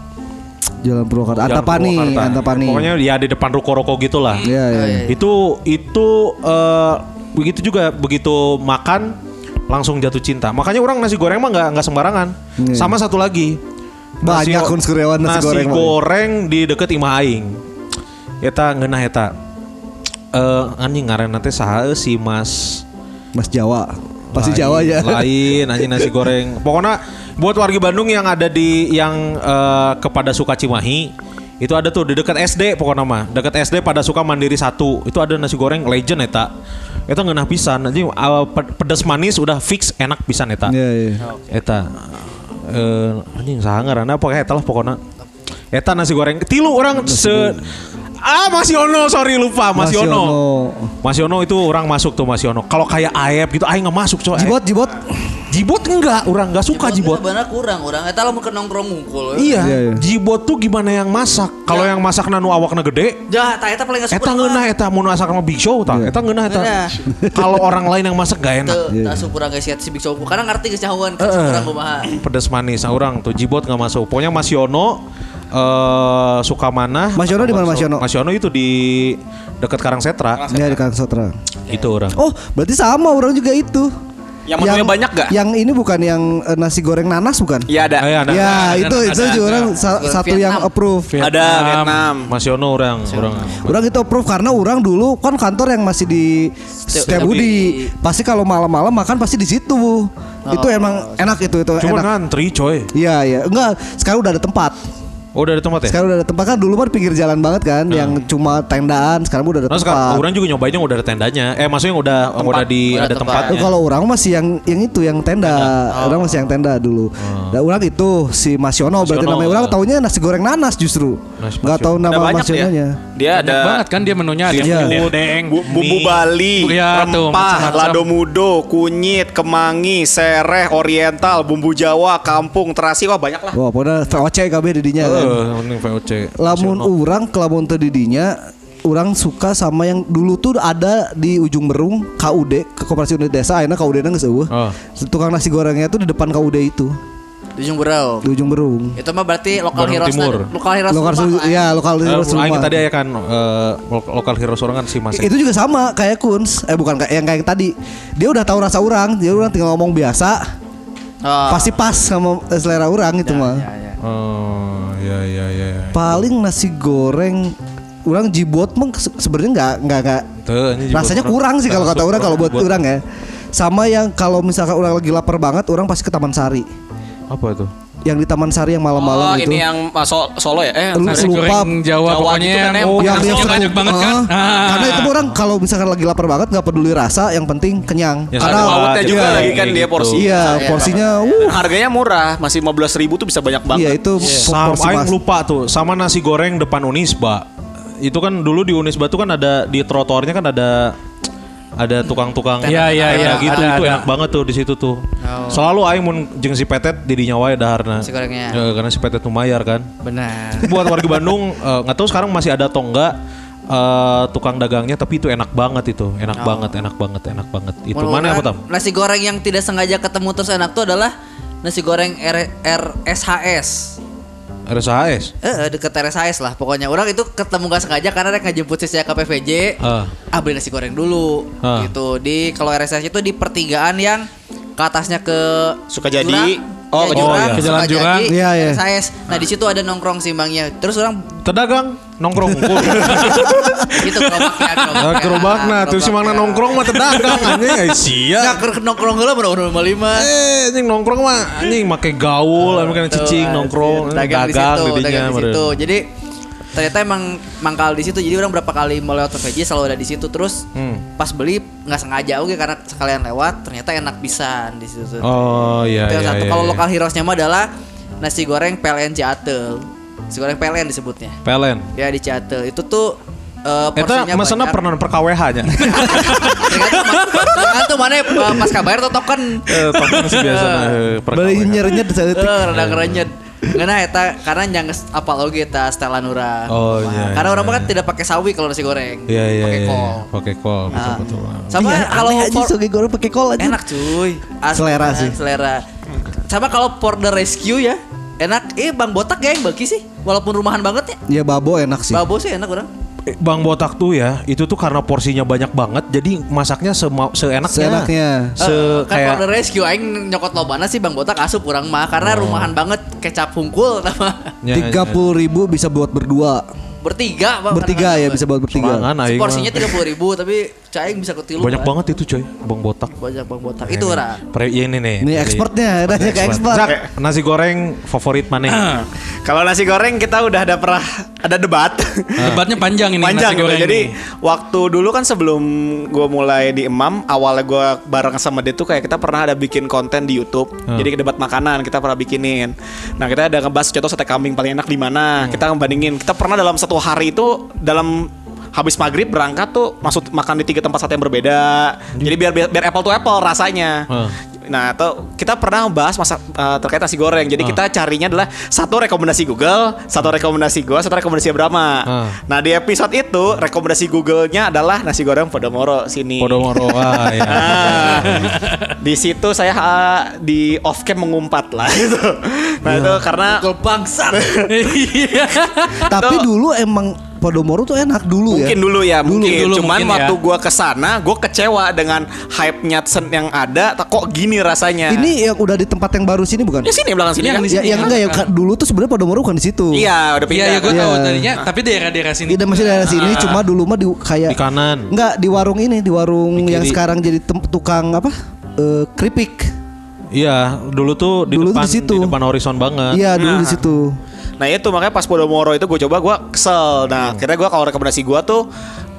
Jalan Purwakarta.
Jalan
Antapani,
Purwakarta.
Antapani.
pokoknya ya di depan ruko-ruko gitulah
Iya iya.
iya.
itu itu eh, begitu juga begitu makan langsung jatuh cinta makanya orang nasi goreng mah nggak nggak sembarangan
Iya.
sama satu lagi
Banyak
nasi-
kun suriawan nasi goreng mah.
goreng di deket imah aing eta ngeunah eta eh anjing ngaran nanti saha euy si mas
Mas Jawa. Pasti
lain-
Jawa ya.
lain anjing nasi goreng pokoknya buat warga Bandung yang ada di yang eh, kepada suka Cimahi itu ada tuh di dekat SD pokoknya mah dekat SD pada suka Mandiri satu itu ada nasi goreng legend eta itu ngenah pisan anjing eh, ped- pedas manis udah fix enak pisan eta
Iya iya.
Eta eh anjing saha ngaranna apa eta lah pokona. Eta nasi goreng tilu orang se Ah masih ono sorry lupa masih
Mas Yono.
ono. Masih ono itu orang masuk tuh masih ono. Kalau kayak Aep gitu aing nggak masuk coy.
Jibot jibot.
Jibot enggak, orang nggak suka jibot.
Sebenarnya kurang orang. Eta lamun ke nongkrong ngungkul.
Iya,
Iya, iya.
jibot tuh gimana yang masak? Kalau yang masak nanu awakna gede,
Jah, eta eta paling gak
eta ngeunah eta mun masak sama Big Show tah.
Iya.
Eta ngeunah eta.
Ngeunah.
Kalau orang lain yang masak gak enak.
Tuh,
Iya.
tak supura guys lihat si Big Show. Karena ngerti geus nyahuan ke
Heeh.
supura kumaha.
(clears throat) Pedas manis, nah, orang tuh jibot nggak masuk. Pokoknya Mas Yono eh suka mana?
Mas Yono di mana, Mas Yono?
Mas Yono itu di dekat Karangsetra.
Iya di Kang Sotra.
Itu orang.
Oh berarti sama orang juga itu.
Yang menunya banyak gak?
Yang ini bukan yang eh, nasi goreng nanas bukan?
Iya ada.
Ayo, Eh, ada.
ya
ada,
itu
ada,
itu
ada,
juga
ada.
orang sa-
Goreng
satu yang
Vietnam.
approve.
Ada Vietnam.
Mas Yono orang, orang.
Orang itu approve karena orang dulu kan kantor yang masih di Setiabudi. Pasti kalau malam-malam makan pasti di situ. itu emang enak itu itu
Cuma
enak.
ngantri coy.
Iya iya. Enggak, sekarang udah ada tempat.
Oh, udah ada tempat ya?
Sekarang udah ada tempat kan dulu kan pinggir jalan banget kan yang cuma tendaan, sekarang udah ada
Nah,
tempat.
sekarang orang juga nyobainnya udah ada tendanya. Eh, maksudnya udah udah di
Udah
ada
tempat.
tempatnya.
Eh, Kalau orang masih yang yang itu yang tenda, orang masih yang tenda dulu. Nah, orang itu si Mas Yono berarti
Yono.
namanya orang taunya nasi goreng nanas justru.
Nasi Mas
Nggak tahu
Yono.
Ada
nama
banyak
Mas
ya.
Yononya.
Dia
Banyak
ada
banget kan dia menunya ada
Iya.
gudeg,
Bu- ya, bumbu
mie.
Bali,
Iya, tuh,
rempah,
macam-macam.
lado mudo, kunyit, kemangi, sereh, oriental, bumbu Jawa, kampung, terasi, wah banyak lah.
Wah, pokoknya VOC KB didinya kan.
Eh, ini VOC.
Lamun orang ke lamun teu didinya orang suka sama yang dulu tuh ada di ujung Berung KUD ke Koperasi Unit Desa akhirnya KUD nya nggak seueuh.
Oh.
tukang nasi gorengnya tuh di depan KUD itu
Di Ujung Berau.
di ujung Berung
Itu mah berarti lokal
Bandung
hero
Timur.
Lokal hero kan?
lokal su- ya lokal
Eh,
terus
aing
rumah.
tadi ya kan eh, lo- lokal hero sorangan si Mas.
itu juga sama kayak Kuns eh bukan kayak yang kayak tadi dia udah tahu rasa orang dia orang tinggal ngomong biasa
Ah,
Ah.
pasti pas sama eh, selera orang
Ya,
itu mah
Oh, ya ya ya.
paling nasi goreng orang jibot mah se- sebenarnya nggak nggak nggak
Tuh, ini juga
rasanya kurang sih kalau kata orang kalau buat orang ya sama yang kalau misalkan orang lagi lapar banget orang pasti ke Taman Sari
Apa itu?
yang di Taman Sari yang
oh,
malam-malam itu
ini yang uh, so- Solo ya? Eh,
Lu-
sorry.
Nasi goreng
Lupa.
Jawa,
Jawa
pokoknya
gitu kan,
yang
em.
oh,
yang
nasinya
yang-
banyak banget kan.
Ah,
Ah.
karena itu orang kalau misalkan lagi lapar banget nggak peduli rasa yang penting kenyang
Ya,
karena
satu
Lautnya
Ah,
juga
iya,
lagi
iya,
kan dia
gitu.
porsi.
iya porsinya uh,
Dan harganya murah, masih 15 ribu tuh bisa banyak banget.
iya itu
Sama
porsi
aing
mas-
lupa tuh, sama nasi goreng depan Unisba. Itu kan dulu di Unisba tuh kan ada di trotoarnya kan ada ada tukang-tukang
Iya, iya,
Kayak
iya.
gitu
Ada,
itu
ada.
enak banget tuh di situ tuh. Selalu aing mun jeung si Petet di dinya wae daharna.
Si gorengnya.
Ya, karena si Petet nu mayar kan.
Benar.
buat warga Bandung (laughs) eh, nggak tahu sekarang masih ada atau enggak eh, tukang dagangnya tapi itu enak banget itu enak banget enak banget enak banget itu mana ya,
kan?
apa tam
Nasi goreng yang tidak sengaja ketemu terus enak tuh adalah nasi goreng R RSHS.
RSHS
Eh, eh, deket RSHS lah pokoknya. Orang itu ketemu gak sengaja karena rek ngejemput si saya ke PVJ.
Ah.
Ah beli nasi goreng dulu
Ah.
gitu. Di kalau RSHS itu di pertigaan yang ke atasnya ke
Sukajadi.
Oh,
ke Jurang.
ke
Ke
Jalan Jurang.
Iya, iya.
RSHS. Nah, di situ ada nongkrong simbangnya. Terus orang
tedagang nongkrong unggul.
itu gerobaknya,
Ah, gerobak nah terus si mana
gerobaknya.
nongkrong mah
(laughs)
tedagang anjing ay, sia
Nah, ker- nongkrong heula mun urang nomor lima.
eh anjing nongkrong mah anjing make gaul emang kan cicing
Tuh,
nongkrong
Gitu, ah, iya, dagang, di situ,
didinya,
dagang di
meureun.
situ. Jadi ternyata emang mangkal di situ. Jadi orang berapa kali mau lewat VJ selalu ada di situ. Terus
Hmm.
pas beli nggak sengaja oke karena sekalian lewat ternyata enak pisan di situ.
oh iya
Itu yang
iya,
satu.
iya,
Kalau
iya.
lokal heroesnya mah adalah nasi goreng PLN Ciatel. Nasi goreng PLN disebutnya.
PLN
Ya di Ciatel. Itu tuh
Eta
eh, porsinya
mesena
banyak.
pernah perkawh
(laughs)
nya
Tergantung tergantung mana ya, eh, pas kabar atau token.
Eh, tapi masih biasa nah, eh, per
beli
KWH.
nyerinya di Iya,
Eh,
detik
rada kerenyet. Karena eta karena nyangges apal oge eta setelan urang.
Oh, iya,
Karena
iya,
orang mah kan
iya.
tidak pakai sawi kalau nasi goreng.
Iya iya
pakai
iya.
kol.
Pakai kol betul
Ah.
betul.
Sama
Iya,
kalau
aneh aja
for-
soge goreng pakai kol aja.
enak cuy. Asli,
Selera sih.
Selera. Sama kalau for the rescue ya. Enak. Eh Bang Botak geng bagi sih. Walaupun rumahan banget ya.
Ya babo enak sih.
Iya,
Babo sih enak orang.
Eh, Bang Botak tuh ya, itu tuh karena porsinya banyak banget, jadi masaknya sema- seenaknya.
Seenaknya.
Se
Eh, kan for the
kayak
rescue aing nyokot lobana sih Bang Botak asup kurang mah karena
Oh.
rumahan banget kecap hungkul (laughs) sama
Ya,
Tiga puluh ribu bisa buat berdua,
bertiga Bang.
bertiga ya
kadang-kadang.
bisa buat bertiga.
Sorangan Kan aing.
Porsinya
mah.
tiga puluh ribu, tapi caing bisa ketilu.
Banyak
kan.
banget itu coy, Bang Botak.
banyak bang botak itu ora
Pre ya ini nih.
Ini
jadi-
eksportnya, ada ke ekspor.
Zak, nasi goreng favorit mana?
Kalau nasi goreng kita udah ada pernah ada debat.
Debatnya panjang ini
Panjang
nasi goreng.
gitu. Jadi
ini.
waktu dulu kan sebelum gue mulai di Emam, awalnya gue bareng sama dia tuh kayak kita pernah ada bikin konten di YouTube.
Hmm.
Jadi debat makanan kita pernah bikinin. Nah kita ada ngebahas contoh sate kambing paling enak di
Hmm.
mana. Kita ngebandingin. Kita pernah dalam satu hari itu dalam habis maghrib berangkat tuh maksud makan di tiga tempat sate yang berbeda. Jadi biar biar, biar apple to apple rasanya.
Hmm.
Nah, atau kita pernah bahas masa eh, terkait nasi goreng.
Hmm.
Jadi kita carinya adalah satu rekomendasi Google, satu rekomendasi gua, satu rekomendasi Brahma.
Ah.
Nah, di episode itu rekomendasi Google-nya adalah nasi goreng Podomoro sini.
Podomoro. Ah, ya.
(clears throat) Nah, di situ saya ah, di off cam mengumpat lah (laughs) itu. Nah, itu karena
Gol bangsat
Iya.
Tapi dulu emang Podomoro tuh enak dulu
Mungkin
ya.
dulu ya, mungkin.
Dulu
Cuman
mungkin ya.
waktu gua kesana, gua kecewa dengan hype-nya sen- yang ada. tak- Kok gini rasanya?
Ini yang udah di tempat yang baru sini bukan?
ya sini belakang sini
Yang
ya. kan?
di
Ya,
sini,
yang enggak ya Kak, dulu tuh sebenarnya Podomoro bukan di situ.
Iya, udah pindah.
Iya, iya gue
Iya.
tahu tadinya. Tapi daerah-daerah sini.
Iya masih daerah sini, cuma dulu mah di kayak
Di kanan.
Enggak di warung ini, di warung
Di
yang
kiri.
sekarang jadi tem- tukang apa? Eh, keripik.
Iya, dulu tuh di
Dulu tuh
depan
di situ.
di depan horizon banget.
Iya dulu di
Nah.
situ.
Nah itu makanya pas Podomoro itu gue coba gue kesel. Nah akhirnya gue kalau rekomendasi gue tuh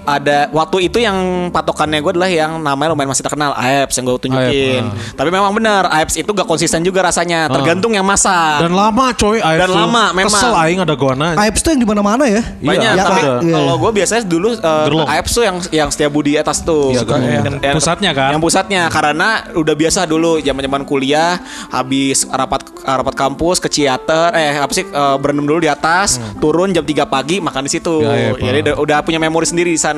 ada waktu itu yang patokannya gue adalah yang namanya lumayan masih terkenal Aeps yang gue tunjukin.
Aeps,
Tapi memang benar Aeps itu gak konsisten juga rasanya. Tergantung yang masak.
Dan lama coy air
Dan
tuh.
lama, memang.
Kesel aing ada goana.
Aibs tuh yang di mana-mana ya.
banyak
Kan. iya,
tapi
ada.
kalau gue biasanya dulu eh,
Gerlong.
Aeps tuh yang yang setiap budi atas tuh
Iya,
Suka-
gerlong.
yang- yang-
Pusatnya kan?
yang pusatnya karena udah biasa dulu zaman zaman kuliah habis rapat rapat kampus ke theater eh apa sih eh, berenam dulu di atas turun jam 3 pagi makan di situ
Hmm. Ya, ya, Pak.
jadi udah, udah punya memori sendiri di sana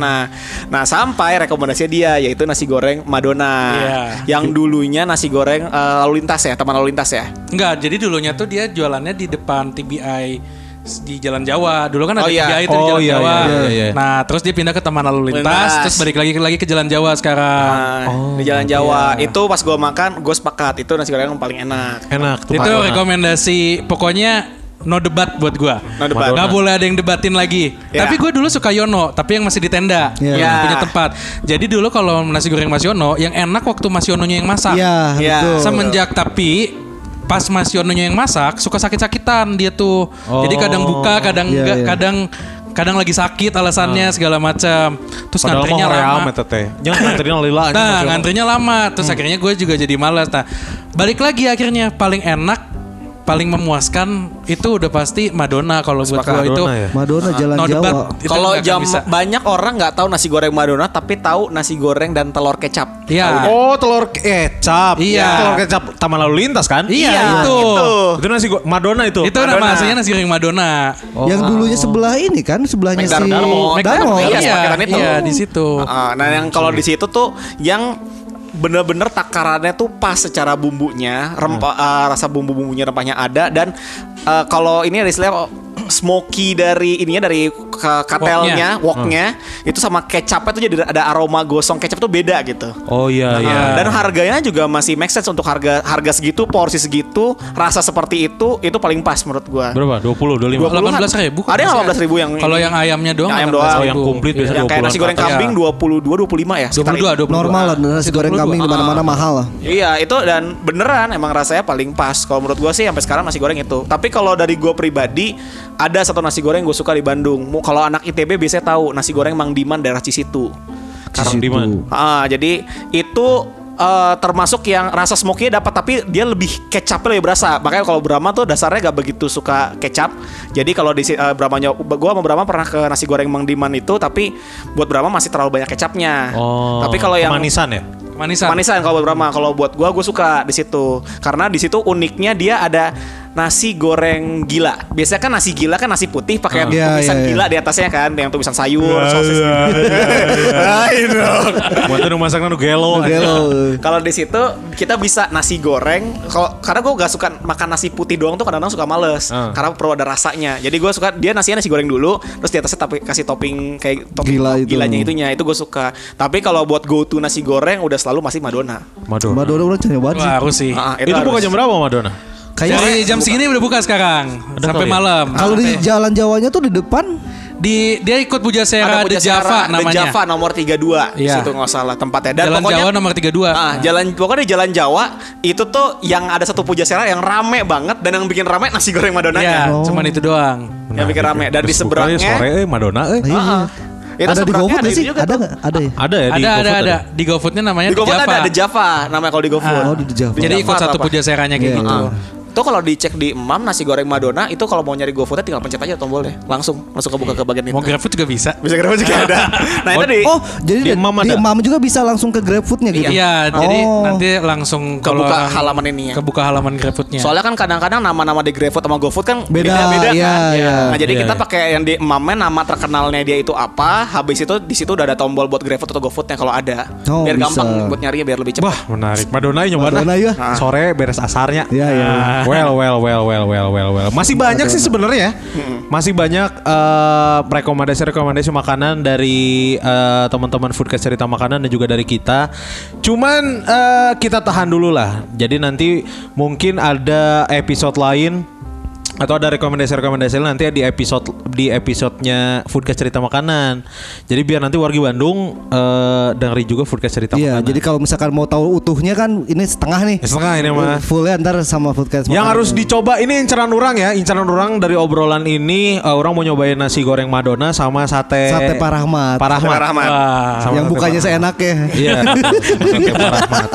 nah sampai rekomendasinya dia yaitu nasi goreng Madonna
Iya.
yang dulunya nasi goreng eh, lalu lintas ya teman lalu lintas ya
Enggak, jadi dulunya tuh dia jualannya di depan TBI s- di Jalan Jawa. Dulu kan ada
Oh, iya.
TBI itu di
Oh,
Jalan
iya,
Jawa.
iya, iya, iya.
Nah, terus dia pindah ke Taman Lalu Lintas,
Lintas.
terus balik lagi lagi ke Jalan Jawa sekarang.
Nah,
Oh,
di Jalan Jawa
iya.
itu pas gue makan gue sepakat itu nasi goreng yang paling enak
Enak tuh.
itu
Pak.
rekomendasi pokoknya no debat buat gua.
No debat.
Nggak boleh ada yang debatin lagi.
Ya.
Tapi gue dulu suka Yono, tapi yang masih di tenda,
Iya.
yang
Ya.
punya tempat. Jadi dulu kalau nasi goreng Mas Yono, yang enak waktu Mas Yononya yang masak.
Iya,
Iya.
betul.
Semenjak tapi pas Mas Yononya yang masak suka sakit-sakitan dia tuh. Jadi kadang
Oh.
buka, kadang
Iya,
enggak,
iya.
kadang kadang lagi sakit alasannya
Ah.
segala macam.
Padahal
Terus
mah
ngantrinya
hoream
lama.
eta teh. Jangan ngantrinya lila anjing,
Nah,
masih-
ngantrinya lama. Terus akhirnya gue juga jadi malas. Nah, balik lagi akhirnya paling enak, paling memuaskan itu udah pasti Madonna kalau buat
Sepakat.
gue itu.
Madonna ya?
Madonna Jalan
no
Jawa.
debat. Itu
Kalau
nggak akan
jam
bisa.
banyak orang nggak tahu nasi goreng Madonna tapi tahu nasi goreng dan telur kecap.
Iya.
Oh, telur kecap.
Iya.
Telur kecap Taman Lalu Lintas kan?
Iya, itu.
Itu nasi go- Madonna itu.
Itu nama aslinya nasi goreng Madonna.
Oh. Yang dulunya sebelah ini kan, sebelahnya si
McDonald's.
Darmo.
McDonald's. Iya,
Iya,
sepaketan itu.
iya, di situ.
Heeh, nah yang kalau di situ tuh yang bener-bener takarannya tuh pas secara bumbunya, rempa,
Hmm.
eh, rasa bumbu-bumbunya rempahnya ada dan eh, kalau ini ada istilah oh, smoky dari ininya dari ke- katelnya, woknya
Hmm.
itu sama kecapnya tuh jadi ada aroma gosong kecap tuh beda gitu.
Oh iya iya.
Nah, Dan harganya juga masih make sense untuk harga harga segitu, porsi segitu, rasa seperti itu, itu paling pas menurut gua.
Berapa? 20, 25.
20-an.
18.000, kan?
Ada yang 18.000 yang
Kalau
ini.
yang ayamnya doang.
Yang ayam
18.000.
doang.
yang komplit
Iya.
biasanya
yang kayak
20-an
nasi goreng
ke atas.
kambing 22 25 ya sekitar
22,
itu.
22.
Normal lah nasi goreng
Ah.
22.
kambing di mana-mana mahal lah.
Iya, itu dan beneran emang rasanya paling pas. Kalau menurut gua sih sampai sekarang nasi goreng itu. Tapi kalau dari gua pribadi ada satu nasi goreng gue suka di Bandung. Mu- Kalau anak ITB biasanya tahu nasi goreng Mang Diman daerah Cisitu.
Karang di mana?
Ah, jadi itu eh, termasuk yang rasa smoky dapat tapi dia lebih kecapnya lebih berasa. Makanya kalau Brahma tuh dasarnya gak begitu suka kecap. Jadi kalau di si- eh, Brahmanya gua sama Brahma pernah ke nasi goreng Mang Diman itu tapi buat Brahma masih terlalu banyak kecapnya.
Oh.
tapi kalau yang
manisan ya?
Manisan.
manisan kalau buat Brahma, kalau buat gua gua suka di situ. Karena di situ uniknya dia ada nasi goreng gila. Biasanya kan nasi gila kan nasi putih pakai
Iya,
tumisan
iya, iya.
gila di atasnya kan, yang tumisan sayur, sosis. gitu. Lain dong.
Buat itu masaknya nu gelo. eh. anjing.
Gelo.
Kalau di situ kita bisa nasi goreng. Kalau karena gue gak suka makan nasi putih doang tuh kadang-kadang suka males
Ah.
karena perlu ada rasanya. Jadi gue suka dia nasinya nasi goreng dulu, terus di atasnya tapi kasih topping kayak topping
Gila itu.
gilanya itunya itu gue suka. Tapi kalau buat go to nasi goreng udah selalu masih Madonna.
Madonna.
Madonna orang cari banget
Wah,
sih.
harus sih.
Ah,
Itu buka
harus.
jam berapa Madonna?
Dari
Kayaknya
jam segini udah buka sekarang
kali ya?
sampai malam.
kalau di
Sampai-
jalan Jawanya tuh di depan
di dia ikut
Ada
Pujasera di
Puja Sierra,
Java
The
namanya.
Java nomor 32 di
Iya.
situ nggak salah tempatnya. Dan
Jalan
pokoknya
Jawa nomor Iya, 32.
Ah, jalan pokoknya di Jalan Jawa itu tuh yang ada satu puja sera yang rame banget dan yang bikin rame nasi goreng
Iya,
Madonanya.
cuman itu doang.
Yang bikin rame dan di
Terus buka ya
seberangnya
sore eh Madonna eh.
Iya, iya.
Ah, Itu
ada di
seberangnya
GoFood
ada
nggak
itu
sih?
juga
Ada
tuh.
nggak? Ada ya?
Ada ya di
ada ada
GoFood
ada Eh, di GoFoodnya namanya
Di
The
GoFood
Java.
ada ada Java namanya kalau di GoFood.
Oh, di The Java.
Jadi ikut satu
puja
Pujaseranya kayak
Iya.
gitu.
Ah.
Tuh kalau dicek di Emam nasi goreng Madonna itu kalau mau nyari GoFoodnya tinggal pencet aja tombolnya langsung langsung kebuka ke bagian
Mau
itu.
GrabFood juga bisa.
Bisa kira juga
(laughs)
ada. Nah itu di
Oh, jadi
Di
di,
Imam ada.
di Imam juga bisa langsung ke GrabFood-nya gitu.
Iya, jadi
Oh.
nanti langsung kalau
kebuka
orang-
halaman ini ya.
Kebuka halaman
Ya.
GrabFoodnya.
Soalnya kan kadang-kadang nama-nama di GrabFood sama GoFood kan
Beda,
beda-beda
iya,
kan.
iya.
Nah, jadi
Iya,
kita
iya.
pakai yang di emamnya nama terkenalnya dia itu apa, habis itu di situ udah ada tombol buat GrabFood atau GoFoodnya kalau ada.
Oh,
biar
bisa.
gampang buat nyarinya biar lebih cepat.
Wah menarik Madonna nyoba
Madonna, iya.
Sore beres asarnya
Iya, iya.
Ah. Well, well, well, well, well, well, well. Masih banyak sih sebenarnya. ya. Masih banyak eh, rekomendasi-rekomendasi makanan dari eh, teman-teman foodcast cerita makanan dan juga dari kita. Cuman eh, kita tahan dulu lah. Jadi nanti mungkin ada episode lain atau ada rekomendasi-rekomendasi lain nanti di episode di episodenya Foodcast Cerita Makanan. Jadi biar nanti wargi Bandung eh, dengerin juga Foodcast Cerita
Iya,
Makanan.
jadi kalau misalkan mau tahu utuhnya kan ini setengah nih.
Ya, setengah ini mah.
Fullnya ntar sama podcast.
Yang
makan.
harus dicoba ini incaran orang ya, incaran orang dari obrolan ini eh, orang mau nyobain nasi goreng Madonna sama sate
Sate Pak Rahmat.
Parahmat.
Sate Pak Rahmat.
Sama
yang ya.
sate
bukannya
Pak Rahmat.
seenaknya.
Iya.
(laughs)
sate Pak Rahmat.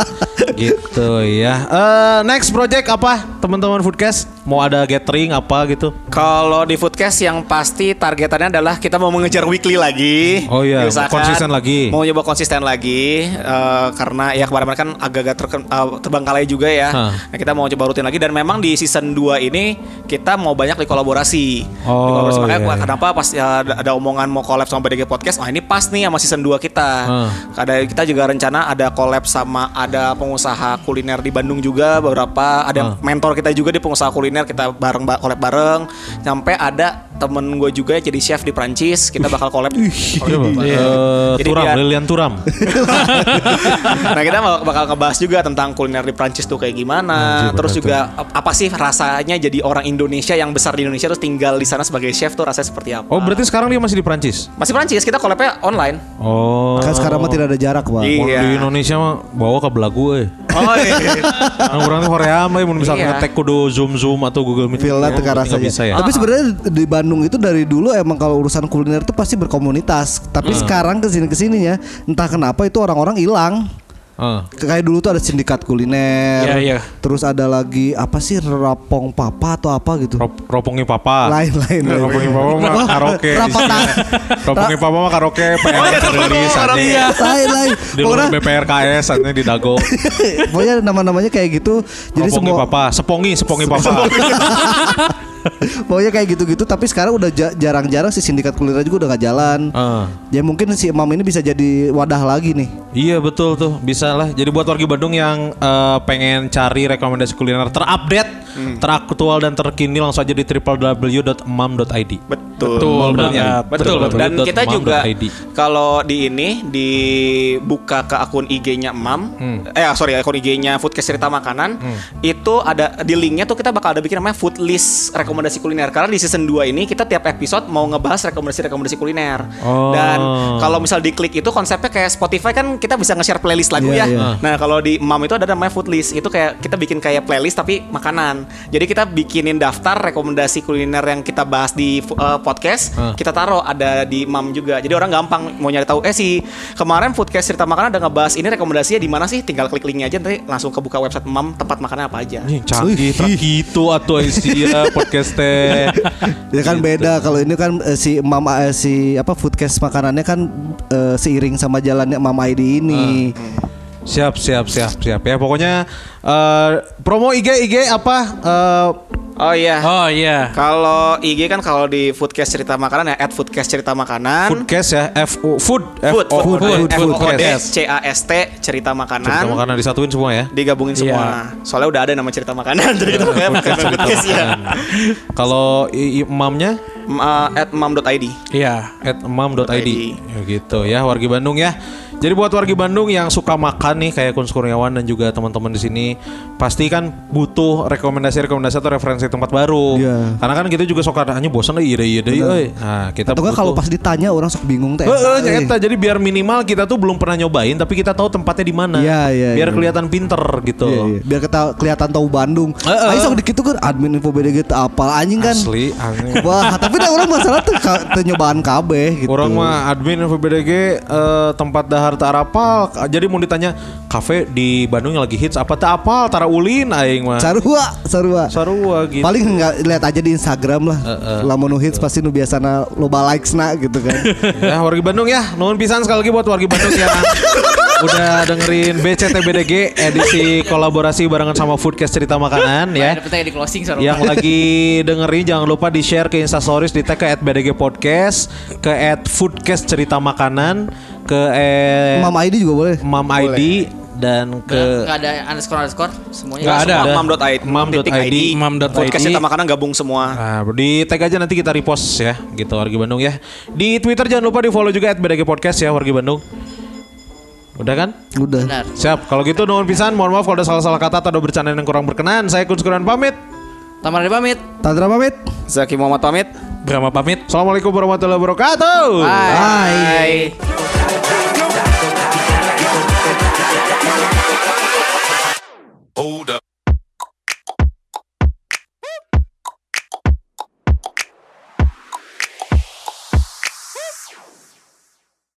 Gitu ya. Eh, next project apa teman-teman Foodcast? Mau ada gathering apa gitu?
Kalau di Foodcast yang pasti targetannya adalah kita mau mengejar weekly lagi.
Oh iya,
Diusahakan.
konsisten lagi.
Mau nyoba konsisten lagi eh, karena ya kemarin kan agak-agak terken- eh, terbengkalai juga ya.
Hah.
Nah, kita mau coba rutin lagi dan memang di season 2 ini kita mau banyak dikolaborasi.
Oh,
Dikolaborasi. Makanya
iya,
gua-
iya.
kenapa pas ya, ada ada omongan mau collab sama BDG Podcast, wah ini pas nih sama season 2 kita.
Hah.
Ada kita juga rencana ada collab sama ada pengusaha kuliner di Bandung juga beberapa, ada yang
Hah.
mentor kita juga di pengusaha kuliner kita bareng ba- collab bareng sampai ada temen gue juga yang jadi chef di Prancis kita bakal collab
Iya,
collab bareng.
iya, Eh,
Jadi
Turam,
biar-
Lilian Turam.
(laughs) nah kita bak- bakal ngebahas juga tentang kuliner di Prancis tuh kayak gimana
Anjir,
terus
bener
juga ap- apa sih rasanya jadi orang Indonesia yang besar di Indonesia terus tinggal di sana sebagai chef tuh rasanya seperti apa
Oh, berarti sekarang dia masih di Prancis.
masih Prancis kita collabnya online
Oh.
Kan sekarang mah tidak ada jarak, Pak.
Iya.
Mun Di Indonesia mah bawa ke belagu euy.
oh iya. (laughs)
Nah, orang tuh Korea mah mun misalkan
Iya.
ngetek kudu Zoom Zoom atau Google Meet.
Villa
Iya,
Tegara
nggak
saja.
bisa ya.
Tapi sebenarnya di Bandung itu dari dulu emang kalau urusan kuliner tuh pasti berkomunitas. Tapi
Hmm.
sekarang kesini kesininya entah kenapa itu orang-orang hilang.
Heeh.
Kayak dulu tuh ada sindikat kuliner.
Iya, iya.
Terus ada lagi apa sih rapong papa atau apa gitu.
Rop- ropongi papa. Eh,
Lain lain. lain.
Ropongi papa mah
(laughs) Wah,
karaoke.
rapat
isinya.
tangan.
Ropongi papa mah
(laughs)
karaoke PNS rilis aneh.
lain lain.
Di luar
Pokoknya,
BPRKS aneh di Dago.
pokoknya nama-namanya kayak gitu. (laughs) Jadi
Ropongi
semua
papa, sepongi, sepongi papa.
(laughs) pokoknya kayak gitu-gitu tapi sekarang udah ja- jarang-jarang si sindikat kuliner juga udah nggak jalan.
Heeh.
Ya mungkin si Imam ini bisa jadi wadah lagi nih.
Iya betul tuh bisa lah. Jadi buat warga Bandung yang eh, pengen cari rekomendasi kuliner terupdate,
Hmm.
teraktual dan terkini langsung aja di www.emam.id.
betul
Betul Iya. banget.
Betul,
Betul,
betul.
betul.
Dan
Dot
kita
mam
juga
dot ID.
kalau di ini dibuka ke akun IG-nya Mam, eh sorry akun IG-nya Foodcast Cerita Makanan, itu ada di linknya tuh kita bakal ada bikin namanya food list rekomendasi kuliner. Karena di season 2 ini kita tiap episode mau ngebahas rekomendasi-rekomendasi kuliner.
Oh.
Dan kalau misal diklik itu konsepnya kayak Spotify kan kita bisa nge-share playlist lagu ya.
Iya, iya.
Nah kalau di Mam itu ada namanya food list, itu kayak kita bikin kayak playlist tapi makanan. Jadi kita bikinin daftar rekomendasi kuliner yang kita bahas di uh, podcast
Ah.
kita taruh ada di mam juga jadi orang gampang mau nyari tahu eh si kemarin foodcast cerita makanan ada ngebahas ini rekomendasinya di mana sih tinggal klik linknya aja nanti langsung kebuka website mam tempat makannya apa aja
Ih, canggih gitu atau isi ya podcast teh.
(laughs) Ya
Iya,
kan beda kalau ini kan eh, si Mam eh, si apa foodcast makanannya kan eh, seiring sama jalannya Mam ID ini.
Ah. Siap, siap, siap, siap ya. Pokoknya eh, promo IG IG apa? Eh,
oh iya
Oh iya.
kalau IG kan kalau di foodcast cerita makanan ya at foodcast cerita makanan
foodcast ya, F O- food, F
food
O
food
O D,
food food
foodcast.
C A S T cerita
Cerita
makanan
makanan disatuin semua ya.
digabungin semua soalnya udah ada nama cerita makanan jadi
Iya.
kita pakai pakai foodcast ya
Kalau i- i- mamnya
M- uh, at mam.id
Iya.
at emam.id
ID.
Ya gitu ya wargi Bandung ya jadi buat wargi Bandung yang suka makan nih kayak Kunz Kurniawan dan juga teman-teman di sini pasti kan butuh rekomendasi-rekomendasi atau referensi tempat baru
Iya.
karena kan kita juga suka hanya bosan Iya deh ide ide euy." nah kita
Atau nggak kalau
butuh-
pas ditanya orang sok bingung teh.
Heeh,
Eh,
nyata. jadi biar minimal kita tuh belum pernah nyobain tapi kita tahu tempatnya di mana
Iya, iya,
biar
iya.
kelihatan pinter gitu
Iya, iya. Biar kita kelihatan tahu Bandung. Ayo sok dikit tuh kan admin info BDG teu apal anjing kan.
asli
(laughs)
aneh
Wah, tapi dah orang masalah tuh ka- teu nyobaan kabeh gitu.
Orang mah admin VBDG eh, tempat dahar tarapal. Jadi mau ditanya kafe di Bandung yang lagi hits apa tak apal tara ulin aing mah.
sarua, sarua.
Sarua gitu.
Paling nggak lihat aja di Instagram lah. Lamun nu hits pasti nu biasana loba likes na gitu kan.
Ya wargi Bandung ya. Nuhun pisan sekali lagi buat wargi Bandung
(laughs)
yang udah dengerin BCTBDG edisi kolaborasi barengan sama Foodcast Cerita Makanan ya.
Ada penting di closing sorry.
yang lagi dengerin jangan lupa di share ke instastories di tag ke @bdg podcast ke @foodcast cerita makanan ke
Mam ID juga boleh.
Mam ID dan ke
Nggak ada underscore underscore semuanya.
Nggak ada.
Semua mam.id.
Mam.id. Mam.id.
Podcast cerita makanan gabung semua.
Nah, di tag aja nanti kita repost ya, gitu Wargi Bandung ya. Di Twitter jangan lupa di follow juga @BDG Podcast ya Wargi Bandung. Udah kan?
Udah.
Benar.
Siap. Kalau gitu nuhun pisan, mohon maaf kalau ada salah-salah kata atau ada bercandaan yang kurang berkenan. Saya Kunskuran pamit.
Tamara pamit.
Tantra pamit.
Zaki Muhammad pamit.
Brahma pamit.
Assalamualaikum warahmatullahi wabarakatuh.
Bye.
Bye.